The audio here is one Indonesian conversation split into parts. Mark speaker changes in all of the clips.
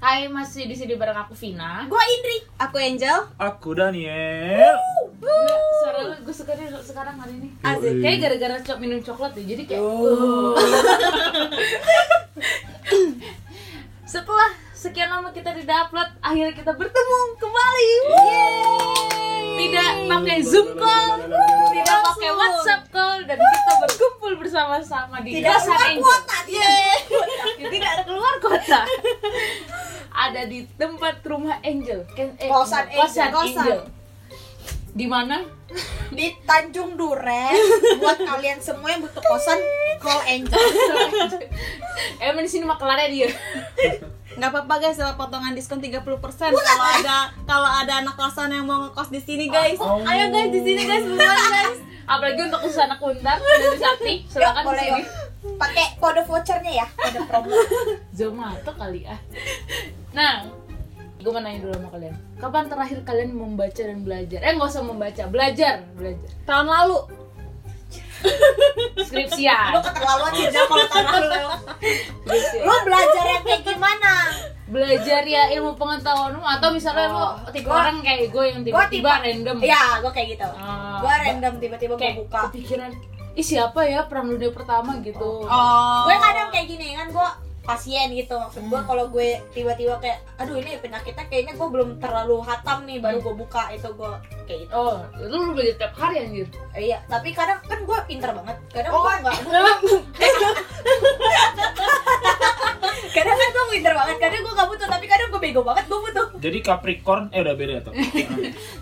Speaker 1: Hai, masih di sini bareng aku Vina.
Speaker 2: Gua Indri, aku Angel.
Speaker 3: Aku Daniel.
Speaker 1: Gila, Suara lu gue suka deh sekarang hari ini.
Speaker 2: Asik.
Speaker 1: Kayak gitu. gara-gara cok minum coklat deh, jadi kayak Oh. Setelah sekian lama kita tidak upload, akhirnya kita bertemu kembali. Tidak pakai Zoom call, tidak pakai
Speaker 2: Langsung.
Speaker 1: WhatsApp call dan kita berkumpul bersama-sama di
Speaker 2: Tidak
Speaker 1: Kosan
Speaker 2: keluar
Speaker 1: Angel.
Speaker 2: kuota dia.
Speaker 1: Tidak keluar kota. Ada di tempat rumah Angel. Ken- eh,
Speaker 2: Kosan Angel,
Speaker 1: kosan
Speaker 2: kosan.
Speaker 1: Angel. Di mana?
Speaker 2: Di Tanjung Duren buat kalian semua yang butuh kosan call Angel.
Speaker 1: Emang di sini makelarnya dia.
Speaker 4: nggak apa-apa guys dapat potongan diskon 30% kalau ada kalau ada anak kosan yang mau ngekos di sini guys
Speaker 3: Oh.
Speaker 4: ayo guys di sini guys buruan guys
Speaker 1: Apalagi untuk usaha anak Untar dari Sakti,
Speaker 2: Yuk,
Speaker 1: silakan di
Speaker 2: boleh
Speaker 1: sini.
Speaker 2: yuk. Pakai kode vouchernya ya, kode promo.
Speaker 1: Zomato kali ah. Nah, gue mau nanya dulu sama kalian. Kapan terakhir kalian membaca dan belajar? Eh, nggak usah membaca, belajar, belajar.
Speaker 4: tahun lalu
Speaker 2: Lu
Speaker 1: Skripsian.
Speaker 2: keterlaluan sih Del, kalau tangan lu.
Speaker 1: Skripsian.
Speaker 2: Lu belajar yang kayak gimana?
Speaker 1: Belajar ya ilmu pengetahuan lu, atau misalnya lu
Speaker 2: Oh,
Speaker 1: tipe
Speaker 2: gua-
Speaker 1: orang kayak gue yang
Speaker 2: gua
Speaker 1: tiba-tiba
Speaker 2: tipe-
Speaker 1: random.
Speaker 2: Ya, gua kayak gitu.
Speaker 1: Ah,
Speaker 2: Gua random tiba-tiba gua
Speaker 1: kayak
Speaker 2: buka.
Speaker 1: kepikiran, ih siapa ya perang dunia pertama gitu.
Speaker 4: oh
Speaker 2: gue kadang kayak gini kan gue pasien gitu maksud gue
Speaker 1: Hmm.
Speaker 2: kalau gue tiba-tiba kayak aduh ini penyakitnya kayaknya gue belum terlalu hatam nih baru
Speaker 1: Hmm.
Speaker 2: gue buka itu gue kayak gitu
Speaker 1: Oh, lu belajar tiap hari anjir.
Speaker 2: Eh, iya tapi kadang kan gue pinter banget kadang
Speaker 4: Oh.
Speaker 2: gue nggak kadang kan gue pinter banget kadang gue nggak butuh tapi kadang gue bego banget gue butuh
Speaker 3: Jadi Capricorn eh udah beda tuh.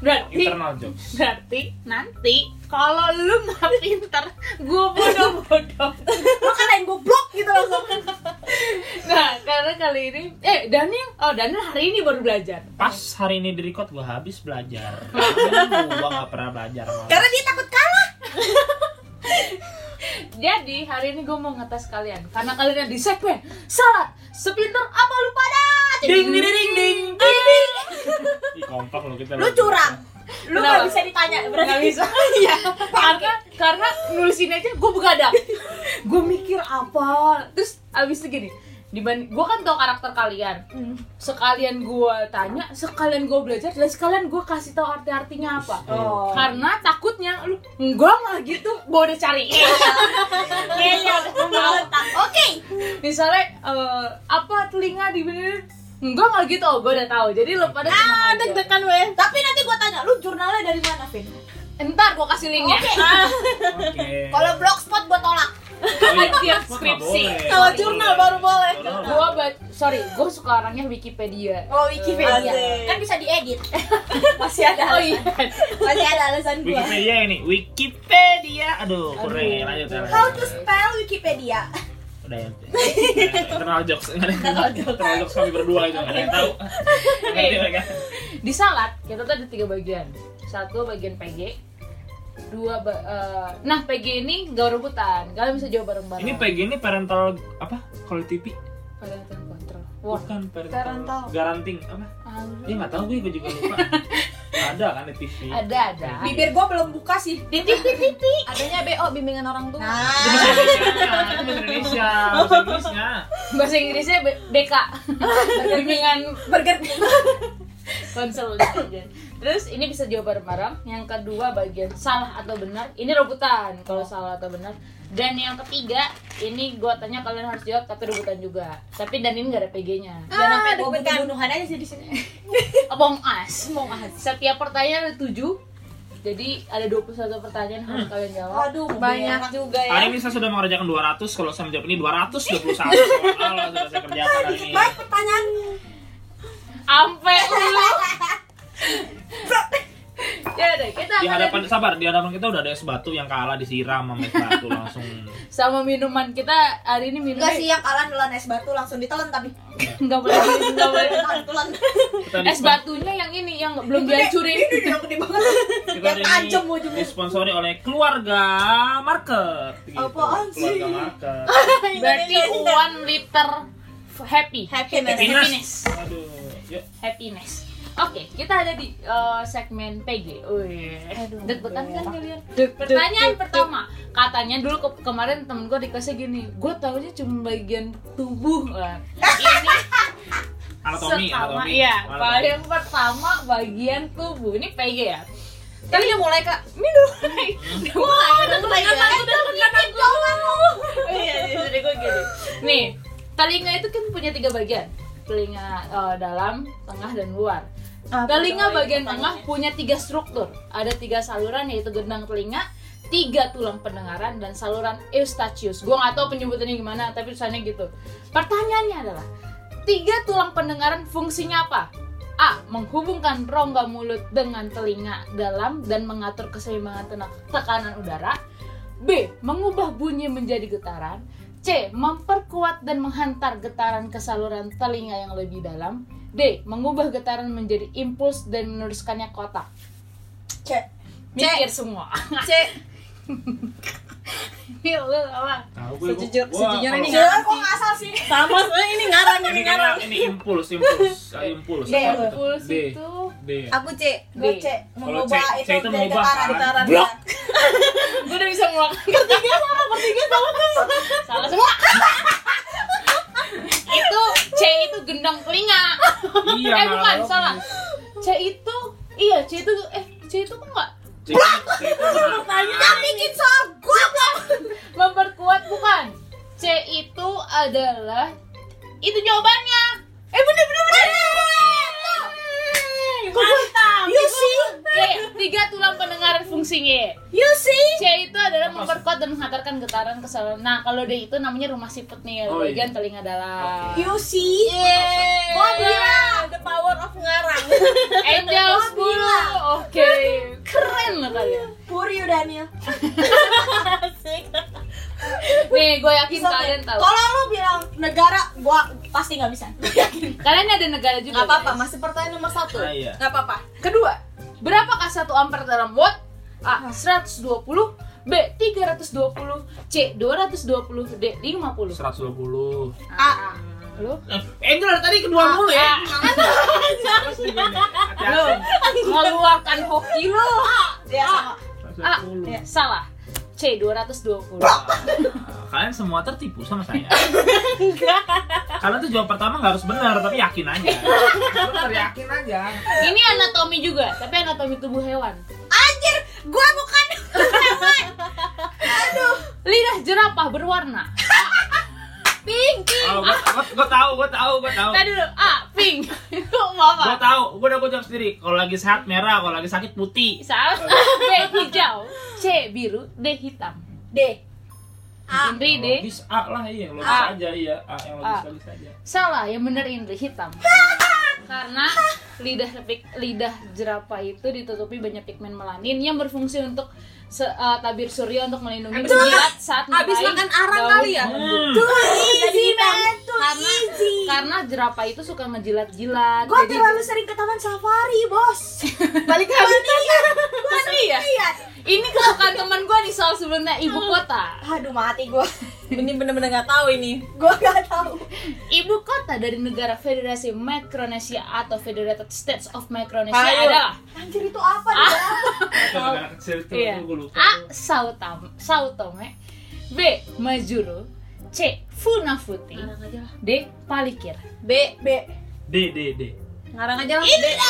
Speaker 1: Berarti
Speaker 3: Internal job.
Speaker 1: berarti nanti kalau lu nggak pinter, gue bodoh-bodoh.
Speaker 2: lo katain gue blok gitu langsung
Speaker 1: Nah, karena kali ini eh Daniel, oh Daniel hari ini baru belajar.
Speaker 3: Pas hari ini di record gua habis belajar. Karena gua nggak pernah belajar. malah.
Speaker 2: karena dia takut kalah
Speaker 1: Jadi hari ini gue mau ngetes kalian karena kalian ada di segmen salat sepinter apa lu pada.
Speaker 3: Ding ding ding ding ding. Ih, kompak lo kita.
Speaker 2: lu curang lu nggak
Speaker 1: Kenapa?
Speaker 2: bisa ditanya berarti
Speaker 1: Nggak bisa.
Speaker 2: iya
Speaker 1: karena karena nulisin aja gue begadang gue mikir apa terus abis itu gini dibanding gue kan tau karakter kalian
Speaker 3: Hmm.
Speaker 1: sekalian gue tanya sekalian gue belajar dan sekalian gue kasih tau arti artinya apa
Speaker 2: Oh.
Speaker 1: karena takutnya lu enggak lah gitu gue udah cari
Speaker 2: iya oke
Speaker 4: Iya,
Speaker 1: misalnya eh, apa telinga di enggak lah gitu oh gue udah tahu jadi lo
Speaker 3: Ah,
Speaker 1: pada tenang aja.
Speaker 4: deg-degan weh
Speaker 2: Nah, tapi nanti gue tanya lu jurnalnya dari mana Vin
Speaker 1: entar gue kasih linknya
Speaker 2: Oke.
Speaker 4: Ah.
Speaker 3: Oke.
Speaker 2: Kalau blogspot gue tolak.
Speaker 1: tiap
Speaker 3: Wah, nggak
Speaker 1: skripsi.
Speaker 3: boleh.
Speaker 4: Kalau jurnal baru boleh.
Speaker 1: gue sorry gue suka orangnya Wikipedia
Speaker 2: Oh Wikipedia.
Speaker 4: Asik.
Speaker 2: Kan bisa diedit.
Speaker 4: masih ada
Speaker 1: oh iya
Speaker 4: masih ada alasan gua
Speaker 3: Wikipedia ini, Wikipedia. Aduh, kurang ya, lanjut ya,
Speaker 2: How
Speaker 3: lanjut.
Speaker 2: to spell Wikipedia.
Speaker 3: Udah ya. Internal jokes, nggak ada yang tahu. internal jokes kami berdua itu nggak ada yang tahu. Ngerti mereka.
Speaker 1: di salat kita tuh ada tiga bagian satu bagian PG dua ba- eh, nah PG ini nggak rebutan kalian bisa jawab bareng bareng
Speaker 3: Ini PG ini parental apa? Quality TV?
Speaker 1: parental control wah
Speaker 3: Bukan parental.
Speaker 4: Parental.
Speaker 3: Garanting apa?
Speaker 1: anjing.
Speaker 3: Ya nggak tahu gue, gue juga lupa. ada kan di TV.
Speaker 1: ada ada
Speaker 2: Bibir gue belum buka sih.
Speaker 1: titik titik titik
Speaker 4: adanya BO bimbingan orang tua
Speaker 3: Itu
Speaker 2: Nah.
Speaker 3: bahasa Indonesia, itu bahasa Indonesia, bahasa Inggrisnya.
Speaker 1: bahasa Inggrisnya B- BK bimbingan
Speaker 2: Burger
Speaker 1: konsel aja. terus ini bisa jawab bareng bareng yang kedua bagian salah atau benar ini rebutan kalau salah atau benar dan yang ketiga ini gua tanya kalian harus jawab tapi rebutan juga tapi dan ini nggak ada PG-nya
Speaker 2: Jangan sampai
Speaker 4: Ah,
Speaker 2: gue
Speaker 4: deg-degan.
Speaker 2: bunuh-bunuhan aja sih di sini.
Speaker 1: Among Us. Setiap pertanyaan ada 7. Jadi ada 21 pertanyaan
Speaker 3: Hmm.
Speaker 1: harus kalian jawab.
Speaker 2: Aduh,
Speaker 4: banyak
Speaker 2: berak.
Speaker 4: juga ya
Speaker 3: Hari ini saya sudah mengerjakan 200, kalau saya menjawab ini 221 soal Allah, sudah saya kerjakan hari ini.
Speaker 2: Baik pertanyaan.
Speaker 1: Ampe lu. ya udah, kita
Speaker 3: Di
Speaker 1: akan
Speaker 3: hadapan sabar, di hadapan kita udah ada es batu yang kalah disiram sama es batu langsung.
Speaker 1: sama minuman kita hari ini minum
Speaker 2: Enggak sih yang kalah nelan es batu langsung ditelan tapi
Speaker 1: Enggak boleh enggak boleh.
Speaker 2: telan telan.
Speaker 3: Kita
Speaker 1: Es batunya yang ini yang belum
Speaker 2: Ini
Speaker 1: dihancurin.
Speaker 2: udah gede banget.
Speaker 3: kita
Speaker 2: Yang
Speaker 3: di-
Speaker 2: tajam ujungnya.
Speaker 3: disponsori oleh keluarga market. Gitu.
Speaker 2: Apaan sih?
Speaker 3: Keluarga market.
Speaker 1: Berarti one liter happy.
Speaker 2: ya?
Speaker 4: happiness
Speaker 3: Happiness. Aduh, yuk.
Speaker 1: Happiness. Oke, kita ada di eh, segmen PG. Wih, deg-degan kan kalian?
Speaker 4: Deg-
Speaker 1: Pertanyaan
Speaker 4: deg-
Speaker 1: pertama, katanya dulu ke- kemarin temen gue di kelasnya gini gue taunya cuma bagian tubuh lah ini
Speaker 3: Anatomi,
Speaker 1: pertama
Speaker 3: anatomi.
Speaker 1: iya
Speaker 3: Anatomi.
Speaker 1: paling pertama bagian tubuh ini PG ya Tadi udah mulai kak, minum Udah mulai, udah mulai Udah mulai, udah mulai Iya, jadi gue gini Nih, telinga itu kan punya tiga bagian Telinga eh, dalam, tengah, dan luar Telinga bagian tengah punya tiga struktur. Ada tiga saluran yaitu gendang telinga, tiga tulang pendengaran dan saluran eustachius. Gua nggak tahu penyebutannya gimana, tapi tulisannya gitu. Pertanyaannya adalah tiga tulang pendengaran fungsinya apa? A. Menghubungkan rongga mulut dengan telinga dalam dan mengatur keseimbangan tena- tekanan udara. B. Mengubah bunyi menjadi getaran. C. Memperkuat dan menghantar getaran ke saluran telinga yang lebih dalam. D. Mengubah getaran menjadi impuls dan meneruskannya ke otak.
Speaker 2: Cek.
Speaker 1: Mikir semua.
Speaker 4: C
Speaker 1: Ini lu apa?
Speaker 3: Tahu gue, gue-
Speaker 4: Sejujur-
Speaker 3: gue
Speaker 4: sejujurnya
Speaker 3: kalau-
Speaker 4: ini
Speaker 2: Jangan kok nggak asal sih.
Speaker 4: sama sebenarnya ini ngarang ini
Speaker 3: ya? ini karena
Speaker 4: ngarang.
Speaker 3: ini impuls, impuls, Ah, impuls.
Speaker 2: D,
Speaker 3: Apa tuh?
Speaker 1: ya? Impuls
Speaker 3: D.
Speaker 1: itu
Speaker 3: D. ya?
Speaker 4: Aku C.
Speaker 1: D.
Speaker 2: Gue cek
Speaker 3: Kalau
Speaker 2: mengubah
Speaker 3: cek-
Speaker 2: itu
Speaker 3: cek itu
Speaker 2: dari
Speaker 3: mengubah
Speaker 2: getaran.
Speaker 3: kan?
Speaker 2: getaran.
Speaker 3: Blok.
Speaker 1: Gue udah bisa ngulang Ketiga sama, ketiga sama Salah semua Itu C itu gendang telinga
Speaker 3: Iya,
Speaker 1: Eh
Speaker 3: malah
Speaker 1: bukan,
Speaker 3: kalau-
Speaker 1: salah C itu Iya C itu Eh C itu kok nggak
Speaker 3: C itu- C itu karena-
Speaker 2: Yang bikin soal gue blok.
Speaker 1: Memperkuat bukan C itu adalah Itu jawabannya Eh bener bener bener
Speaker 4: Mantap.
Speaker 2: You see?
Speaker 1: Iya, iya. tiga tulang pendengaran fungsinya
Speaker 2: You see?
Speaker 1: C itu adalah memperkuat dan menghantarkan getaran ke saluran. Nah, kalau D itu namanya rumah siput nih,
Speaker 3: Oh,
Speaker 1: bagian
Speaker 3: iya.
Speaker 1: telinga dalam.
Speaker 2: You see?
Speaker 1: Yeay.
Speaker 2: Gua bilang the power of ngarang.
Speaker 1: Angel
Speaker 2: Gua
Speaker 1: 10.
Speaker 2: bilang.
Speaker 1: Oke. Keren loh kalian.
Speaker 2: Pur you Daniel.
Speaker 1: Nih, gue yakin
Speaker 2: Bisa,
Speaker 1: Kan kalian
Speaker 2: Dek.
Speaker 1: tahu.
Speaker 2: Kalau lu bilang negara, gua pasti nggak bisa.
Speaker 1: Kalian ada negara juga.
Speaker 4: Gak apa-apa,
Speaker 1: guys.
Speaker 4: masih pertanyaan nomor satu.
Speaker 3: Ah, iya.
Speaker 4: Gak apa-apa.
Speaker 1: Kedua, berapakah 1 ampere dalam watt? A. 120 B. 320 C. 220 D. 50
Speaker 3: 120.
Speaker 1: A. Lu?
Speaker 3: Eh, Angel dari tadi kedua
Speaker 1: Ah.
Speaker 3: mulu ya.
Speaker 1: Lu ngeluarkan hoki lu.
Speaker 2: Ya sama.
Speaker 1: A.
Speaker 3: 120.
Speaker 1: Ya, Salah. C. 220
Speaker 3: Ah, Kalian semua tertipu sama saya. Kalian tuh jawab pertama nggak harus benar, tapi yakin aja. Bener, yakin aja.
Speaker 1: Ini anatomi juga, tapi anatomi tubuh hewan.
Speaker 2: Anjir, gua bukan
Speaker 1: Lidah jerapah berwarna. pink.
Speaker 3: Oh, gua, gua, gua tahu, gua tahu, gua tahu.
Speaker 1: Tadi dulu, A, pink. Itu mau apa?
Speaker 3: Gua tahu, gua udah gua jawab sendiri. Kalau lagi sehat merah, kalau lagi sakit putih.
Speaker 1: Salah. B, hijau. C, biru. D, hitam.
Speaker 2: D. A.
Speaker 1: Indri,
Speaker 4: Oh,
Speaker 1: D.
Speaker 3: Logis A lah iya, logis
Speaker 1: A.
Speaker 3: aja iya, A yang logis
Speaker 1: A.
Speaker 3: logis aja.
Speaker 1: Salah, yang bener Indri, hitam. Karena lidah pik- lidah jerapah itu ditutupi banyak pigmen melanin yang berfungsi untuk se- eh, tabir surya untuk melindungi
Speaker 4: Abis
Speaker 1: penjilat saat
Speaker 4: Abis
Speaker 1: meraih
Speaker 4: makan arang
Speaker 1: daun
Speaker 4: kali ya?
Speaker 1: embun.
Speaker 3: Hmm.
Speaker 2: Easy man, too
Speaker 1: Karena-
Speaker 2: easy.
Speaker 1: Karena jerapah itu suka ngejilat-jilat.
Speaker 2: Gua
Speaker 1: jadi-
Speaker 2: terlalu sering ke taman safari, bos.
Speaker 1: balik
Speaker 2: Gua
Speaker 1: lagi
Speaker 2: lihat, gua
Speaker 1: Tadi ya?
Speaker 2: lihat.
Speaker 1: ini kesukaan teman gue nih soal sebelumnya ibu kota
Speaker 2: Aduh mati gua.
Speaker 4: Ini bener-bener gak tahu ini.
Speaker 2: Gua gak tahu.
Speaker 1: ibu kota dari negara federasi Micronesia atau Federated States of Micronesia
Speaker 4: Ayo.
Speaker 1: adalah
Speaker 2: Anjir itu apa nih?
Speaker 4: Ah,
Speaker 3: Itu anak kecil itu
Speaker 1: iya.
Speaker 3: gua lupa.
Speaker 1: A. Sao Tam- Sao Tome B. Majuro C. Funafuti D. Palikir
Speaker 4: B.
Speaker 2: B.
Speaker 3: D D D.
Speaker 4: Ngarang aja lah. B.
Speaker 1: Ah,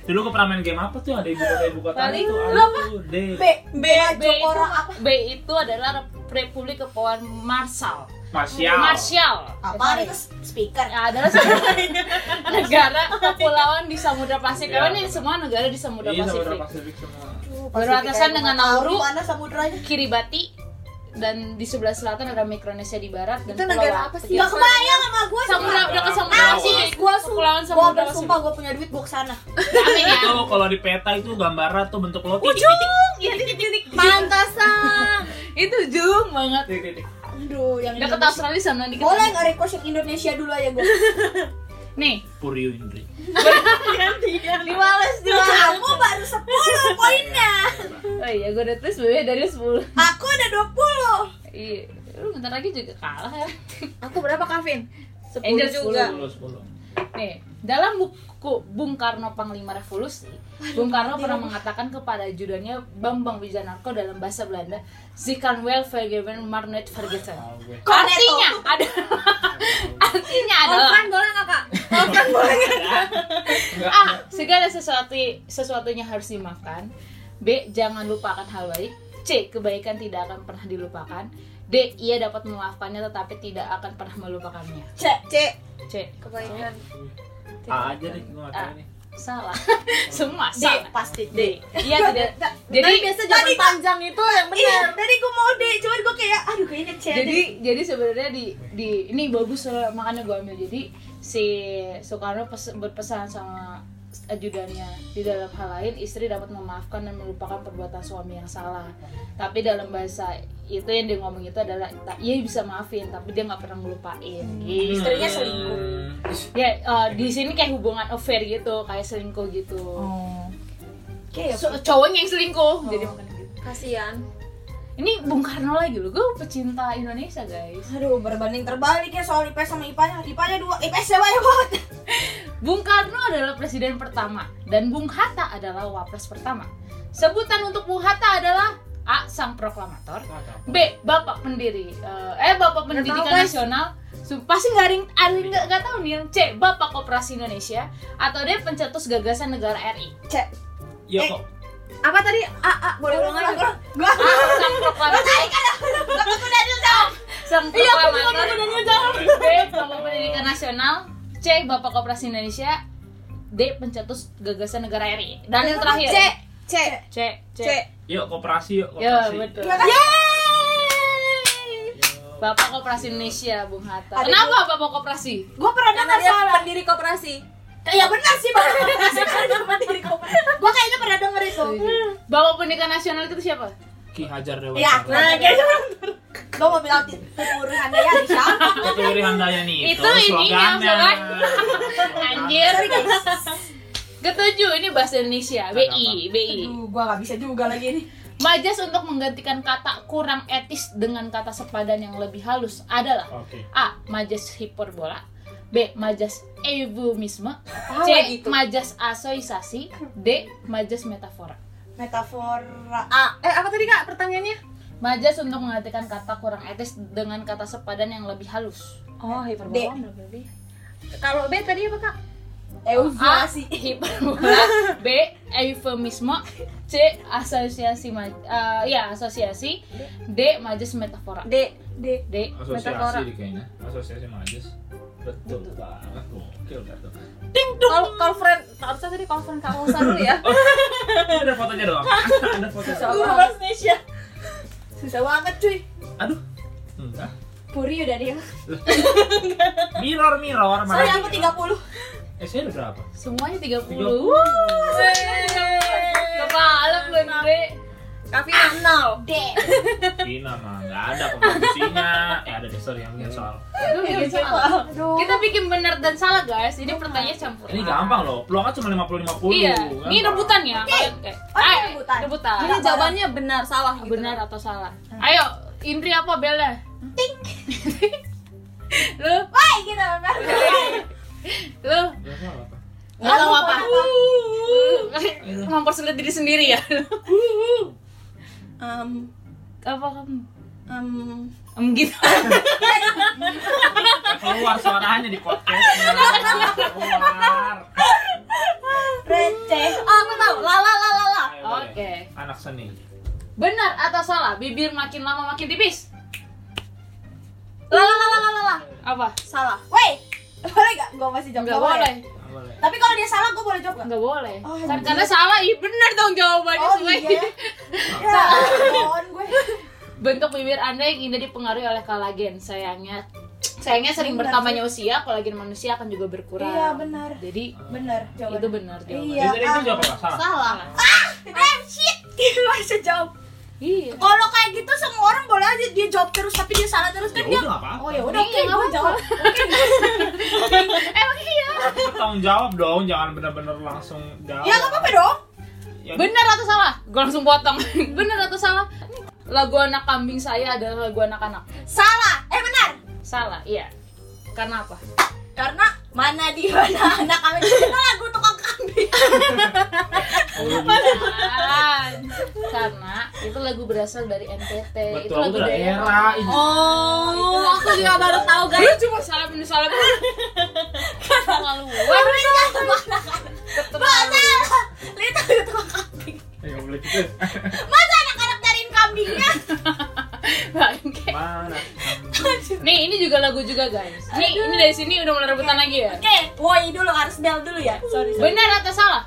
Speaker 3: Eh, lu Dulu gua pernah main game apa tuh? Ada ibu kota ibu kota
Speaker 1: Paling-
Speaker 3: itu.
Speaker 1: lu apa?
Speaker 3: aduh, D.
Speaker 2: B. B.
Speaker 1: B itu,
Speaker 2: Jokora apa?
Speaker 1: B itu adalah Republik Kepulauan Marshall
Speaker 3: Martial.
Speaker 1: Marshall
Speaker 2: Apa itu speaker?
Speaker 1: Ya, adalah satu negara kepulauan di Samudra Pasifik.
Speaker 3: Iya.
Speaker 1: Karena ini semua negara di Samudra
Speaker 3: Iya, Samudra
Speaker 1: Pasifik.
Speaker 3: Pasifik semua.
Speaker 1: Berbatasan dengan Nauru.
Speaker 2: Mana samudranya?
Speaker 1: Kiribati dan di sebelah selatan ada Mikronesia di barat dan
Speaker 4: Itu
Speaker 1: Pulau
Speaker 4: negara apa sih?
Speaker 1: Gak
Speaker 2: Gak kebayang sama gua
Speaker 1: Samudra udah ke Samudra
Speaker 3: Kepulauan.
Speaker 1: Pasifik.
Speaker 2: Gua
Speaker 1: Kepulauan
Speaker 2: sumpah, gua
Speaker 1: Samudra
Speaker 2: bersumpah gua punya duit gua kesana
Speaker 1: Pasifik. Aneh ya.
Speaker 3: Itu kalau di peta itu gambaran tuh bentuk lo titik
Speaker 1: Iya, titik-titik.
Speaker 4: Pantasan.
Speaker 1: Itu jung banget.
Speaker 3: titik titik.
Speaker 2: Aduh, yang
Speaker 1: Deket
Speaker 2: Indonesia.
Speaker 1: Australia sama dikit.
Speaker 2: Boleh gak request yang Indonesia dulu aja gua?
Speaker 1: Nih,
Speaker 3: Puryu Indri.
Speaker 4: Diwales dulu.
Speaker 2: Kamu baru 10 poinnya
Speaker 1: oh iya gue udah tulis BB dari 10
Speaker 2: Aku udah 20
Speaker 1: Iya, lu
Speaker 4: Hmm.
Speaker 1: bentar lagi juga kalah ya
Speaker 4: Aku berapa Kavin?
Speaker 1: Angel juga.
Speaker 3: Sepuluh sepuluh.
Speaker 1: Nih, Dalam buku Bung Karno Panglima Revolusi, Bung Karno pernah mengatakan kepada ajudannya Bambang Wijanarko dalam bahasa Belanda, Sie kan wel vergeven maar niet vergeten.
Speaker 3: Tahu gue.
Speaker 1: Artinya ada artinya
Speaker 2: Oh,
Speaker 1: adalah
Speaker 4: Orfan boleh nggak kak?
Speaker 3: Enggak.
Speaker 1: A. Segala sesuatu sesuatunya harus dimaafkan. B. Jangan lupakan hal baik. C. Kebaikan tidak akan pernah dilupakan. D. Ia dapat memaafkannya tetapi tidak akan pernah melupakannya.
Speaker 2: C
Speaker 4: C.
Speaker 1: C.
Speaker 2: kebaikan
Speaker 3: A aja deh gue nggak tahu
Speaker 1: Ah.
Speaker 3: nih.
Speaker 1: Salah. Semua
Speaker 2: D
Speaker 1: salah.
Speaker 2: pasti D
Speaker 1: D. Iya tidak.
Speaker 4: Jadi
Speaker 1: Jadi
Speaker 4: biasa jawaban panjang itu yang benar.
Speaker 2: Iya, tadi gue mau D, cuman gue kayak aduh kayaknya C deh.
Speaker 1: jadi jadi sebenarnya di di ini bagus soalnya makanya gue ambil jadi si Soekarno pes- berpesan sama ajudannya di dalam hal lain istri dapat memaafkan dan melupakan perbuatan suami yang salah tapi dalam bahasa itu yang dia ngomong itu adalah "Ta- iya bisa maafin tapi dia nggak pernah ngelupain gitu
Speaker 2: Istrinya selingkuh.
Speaker 3: Hmm. Ih,
Speaker 1: ya eh, di sini kayak hubungan affair gitu kayak selingkuh gitu
Speaker 4: Oh.
Speaker 2: Oke, ya.
Speaker 1: So- cowoknya yang selingkuh jadi
Speaker 2: Oh.
Speaker 1: makanya gitu
Speaker 4: Kasihan.
Speaker 1: ini Bung Karno lagi loh gue pecinta Indonesia guys
Speaker 2: Aduh, berbanding terbalik ya soal IPS sama IPA-nya. IPA-nya dua, IPS-nya banyak banget.
Speaker 1: Bung Karno adalah presiden pertama dan Bung Hatta adalah wapres pertama. Sebutan untuk Bung Hatta adalah A. Sang Proklamator,
Speaker 3: nggak tahu.
Speaker 1: B. Bapak Pendiri, eh, eh Bapak Pendidikan
Speaker 4: tahu, Pres.
Speaker 1: Nasional. Su- Pasti nggak ada yang- ada yang
Speaker 3: Iya.
Speaker 1: nggak nggak tahu nih yang C. Bapak Koperasi Indonesia atau D. Pencetus Gagasan Negara RI.
Speaker 2: Cek.
Speaker 3: Iya
Speaker 2: Eh.
Speaker 3: kok.
Speaker 4: Apa tadi? A A boleh
Speaker 2: Boleh
Speaker 4: ulangan
Speaker 2: ulang
Speaker 4: nggak?
Speaker 2: ulang. Gua
Speaker 1: A. Sang Proklamator. Sang
Speaker 2: Iya,
Speaker 1: Proklamator. B. Bapak Pendidikan Nasional. C. Bapak Koperasi Indonesia. D. Pencetus Gagasan Negara RI. Dan yang terakhir.
Speaker 4: C. C.
Speaker 1: C.
Speaker 4: C.
Speaker 3: Yuk koperasi yuk
Speaker 1: Ya
Speaker 3: koperasi.
Speaker 1: betul.
Speaker 2: Terima kasih.
Speaker 1: Bapak Koperasi Indonesia, Bung Hatta.
Speaker 2: Ada
Speaker 1: Kenapa Bapak Koperasi?
Speaker 2: Gua pernah
Speaker 4: Karena
Speaker 2: dengar
Speaker 4: dia
Speaker 2: soal
Speaker 4: pendiri koperasi.
Speaker 2: Iya benar sih, Bang. Masih pernah mandiri Gua kayaknya pernah denger itu.
Speaker 1: Bapak Pendidikan Nasional itu siapa?
Speaker 3: Ki Hajar
Speaker 2: Ya,
Speaker 3: Dewata.
Speaker 2: nah kayaknya bener. Gua mau bilang Timur Handaya di siapa?
Speaker 3: Kategori handanya nih
Speaker 1: kan Itu ininya, slogan. Anjir.
Speaker 2: Sorry guys.
Speaker 1: Ketujuh, ini bahasa Indonesia, BI, BI.
Speaker 2: Aduh, gua nggak bisa juga lagi nih.
Speaker 1: Majas untuk menggantikan kata kurang etis dengan kata sepadan yang lebih halus adalah
Speaker 3: Oke.
Speaker 1: A. Majas hiperbola B. Majas eufemisme
Speaker 4: Apa
Speaker 1: C.
Speaker 4: lagi itu?
Speaker 1: Majas asoisasi D. Majas metafora
Speaker 2: Metafora
Speaker 4: A. Eh apa tadi kak pertanyaannya?
Speaker 1: Majas untuk menggantikan kata kurang etis dengan kata sepadan yang lebih halus
Speaker 4: Oh
Speaker 2: hiperbola
Speaker 4: Kalau B tadi apa kak?
Speaker 2: Eh,
Speaker 1: A.
Speaker 2: Euviasi.
Speaker 1: Hiperbola B. Eufemisme C. Asosiasi ma- eh, ya asosiasi D. Majas metafora
Speaker 4: D. D.
Speaker 1: D.
Speaker 4: Metafora.
Speaker 3: Asosiasi di kayaknya. Asosiasi Majes. Betul banget. Gokil dah tuh.
Speaker 4: Kalau kalau friend, harusnya tadi kalau friend kak Rosa dulu ya.
Speaker 3: Ini Eh, ada fotonya dong. ada foto.
Speaker 2: Susah banget Indonesia. Susah banget cuy.
Speaker 3: Aduh. Enggak.
Speaker 2: Puri udah dia.
Speaker 3: Mirror mirror mana?
Speaker 2: Soalnya aku 30.
Speaker 3: Eh, saya udah berapa?
Speaker 1: Semuanya 30.
Speaker 3: Tiga
Speaker 1: Wuh. Kepala gue D.
Speaker 4: Kak Vina nol.
Speaker 2: D.
Speaker 3: Cina mah enggak ada kompetisinya. Eh ada deh sorry yang bikin soal.
Speaker 1: Aduh, bikin salah.
Speaker 2: Aduh.
Speaker 1: Kita bikin benar dan salah, guys. Ini pertanyaan campuran.
Speaker 3: Ini gampang loh. Peluangnya cuma 50 50.
Speaker 1: Iya, ini rebutan ya. Kalian kayak
Speaker 2: Oh, ini
Speaker 1: Ay,
Speaker 2: rebutan.
Speaker 1: rebutan.
Speaker 4: Jadi jawabannya benar salah gitu.
Speaker 1: benar atau salah? Ayo, Indri apa Bella? lu,
Speaker 2: Wah, gitu.
Speaker 1: lu
Speaker 4: Nggak tahu apa.
Speaker 1: mempersulit diri sendiri ya.
Speaker 4: Um,
Speaker 1: apa kamu?
Speaker 4: um,
Speaker 1: Em gitu.
Speaker 3: Keluar suaranya di podcastnya. Keluar.
Speaker 2: Receh.
Speaker 4: oh, aku tahu. La la la la la.
Speaker 3: Ayo, boleh.
Speaker 1: Oke.
Speaker 3: Anak seni.
Speaker 1: Benar atau salah? Bibir makin lama makin tipis.
Speaker 4: La la la la la la, la.
Speaker 1: Apa?
Speaker 4: Salah.
Speaker 2: Woi, boleh gak? Gue masih jawab.
Speaker 1: Enggak boleh.
Speaker 3: Nggak Boleh.
Speaker 2: Tapi kalau dia salah, gue boleh jawab gak?
Speaker 1: Enggak boleh.
Speaker 2: ya? Oh,
Speaker 1: kan
Speaker 2: iya.
Speaker 1: karena salah, iya benar dong jawabannya
Speaker 2: Oh
Speaker 1: Sui.
Speaker 2: iya. Ya, mohon gue.
Speaker 1: Bentuk bibir Anda yang indah dipengaruhi oleh kolagen. Sayangnya sayangnya sering bertambahnya usia, kolagen manusia akan juga berkurang.
Speaker 2: Iya, benar.
Speaker 1: Jadi
Speaker 2: Bener,
Speaker 1: itu
Speaker 2: jawaban.
Speaker 1: benar jawabannya.
Speaker 2: Iya,
Speaker 3: Jadi tadi itu
Speaker 2: ah.
Speaker 3: jawab apa? Salah.
Speaker 4: Salah.
Speaker 2: Ah, shit. Gue masih jawab.
Speaker 1: Iya.
Speaker 2: Kalau kayak gitu semua orang boleh aja dia jawab terus tapi dia salah terus
Speaker 3: Ya
Speaker 2: kan
Speaker 3: udah
Speaker 2: dia.
Speaker 3: nggak apa-apa.
Speaker 2: Oh ya udah, oke,
Speaker 1: Iya, nggak
Speaker 2: gue
Speaker 1: apa-apa.
Speaker 2: jawab.
Speaker 1: Emang iya.
Speaker 3: Tanggung jawab dong, jangan bener-bener langsung jawab.
Speaker 2: Ya nggak apa-apa dong.
Speaker 3: Ya,
Speaker 1: Benar atau salah? Gue langsung potong. benar atau salah? Lagu anak kambing saya adalah lagu anak-anak.
Speaker 2: Salah. Eh benar.
Speaker 1: Salah, iya. Karena apa?
Speaker 2: Karena mana di mana anak kami Itu lagu tukang kambing
Speaker 3: Oh,
Speaker 1: Bukan. Karena itu lagu berasal dari NTT. itu
Speaker 3: Betul,
Speaker 1: lagu
Speaker 3: itu daerah. Ini
Speaker 4: Oh, aku juga baru tahu guys.
Speaker 1: Lu cuma salah ini salah bener. Keterlaluan.
Speaker 2: masa Lita itu tukang kambing
Speaker 3: Ya boleh gitu.
Speaker 2: masa anak-anak cariin kambingnya
Speaker 1: Bangke.
Speaker 3: Mana?
Speaker 1: Nih, ini juga lagu juga, guys. Nih, ini dari sini udah mulai rebutan lagi ya.
Speaker 2: oke woi dulu harus bel dulu ya sorry sorry
Speaker 1: Benar atau salah?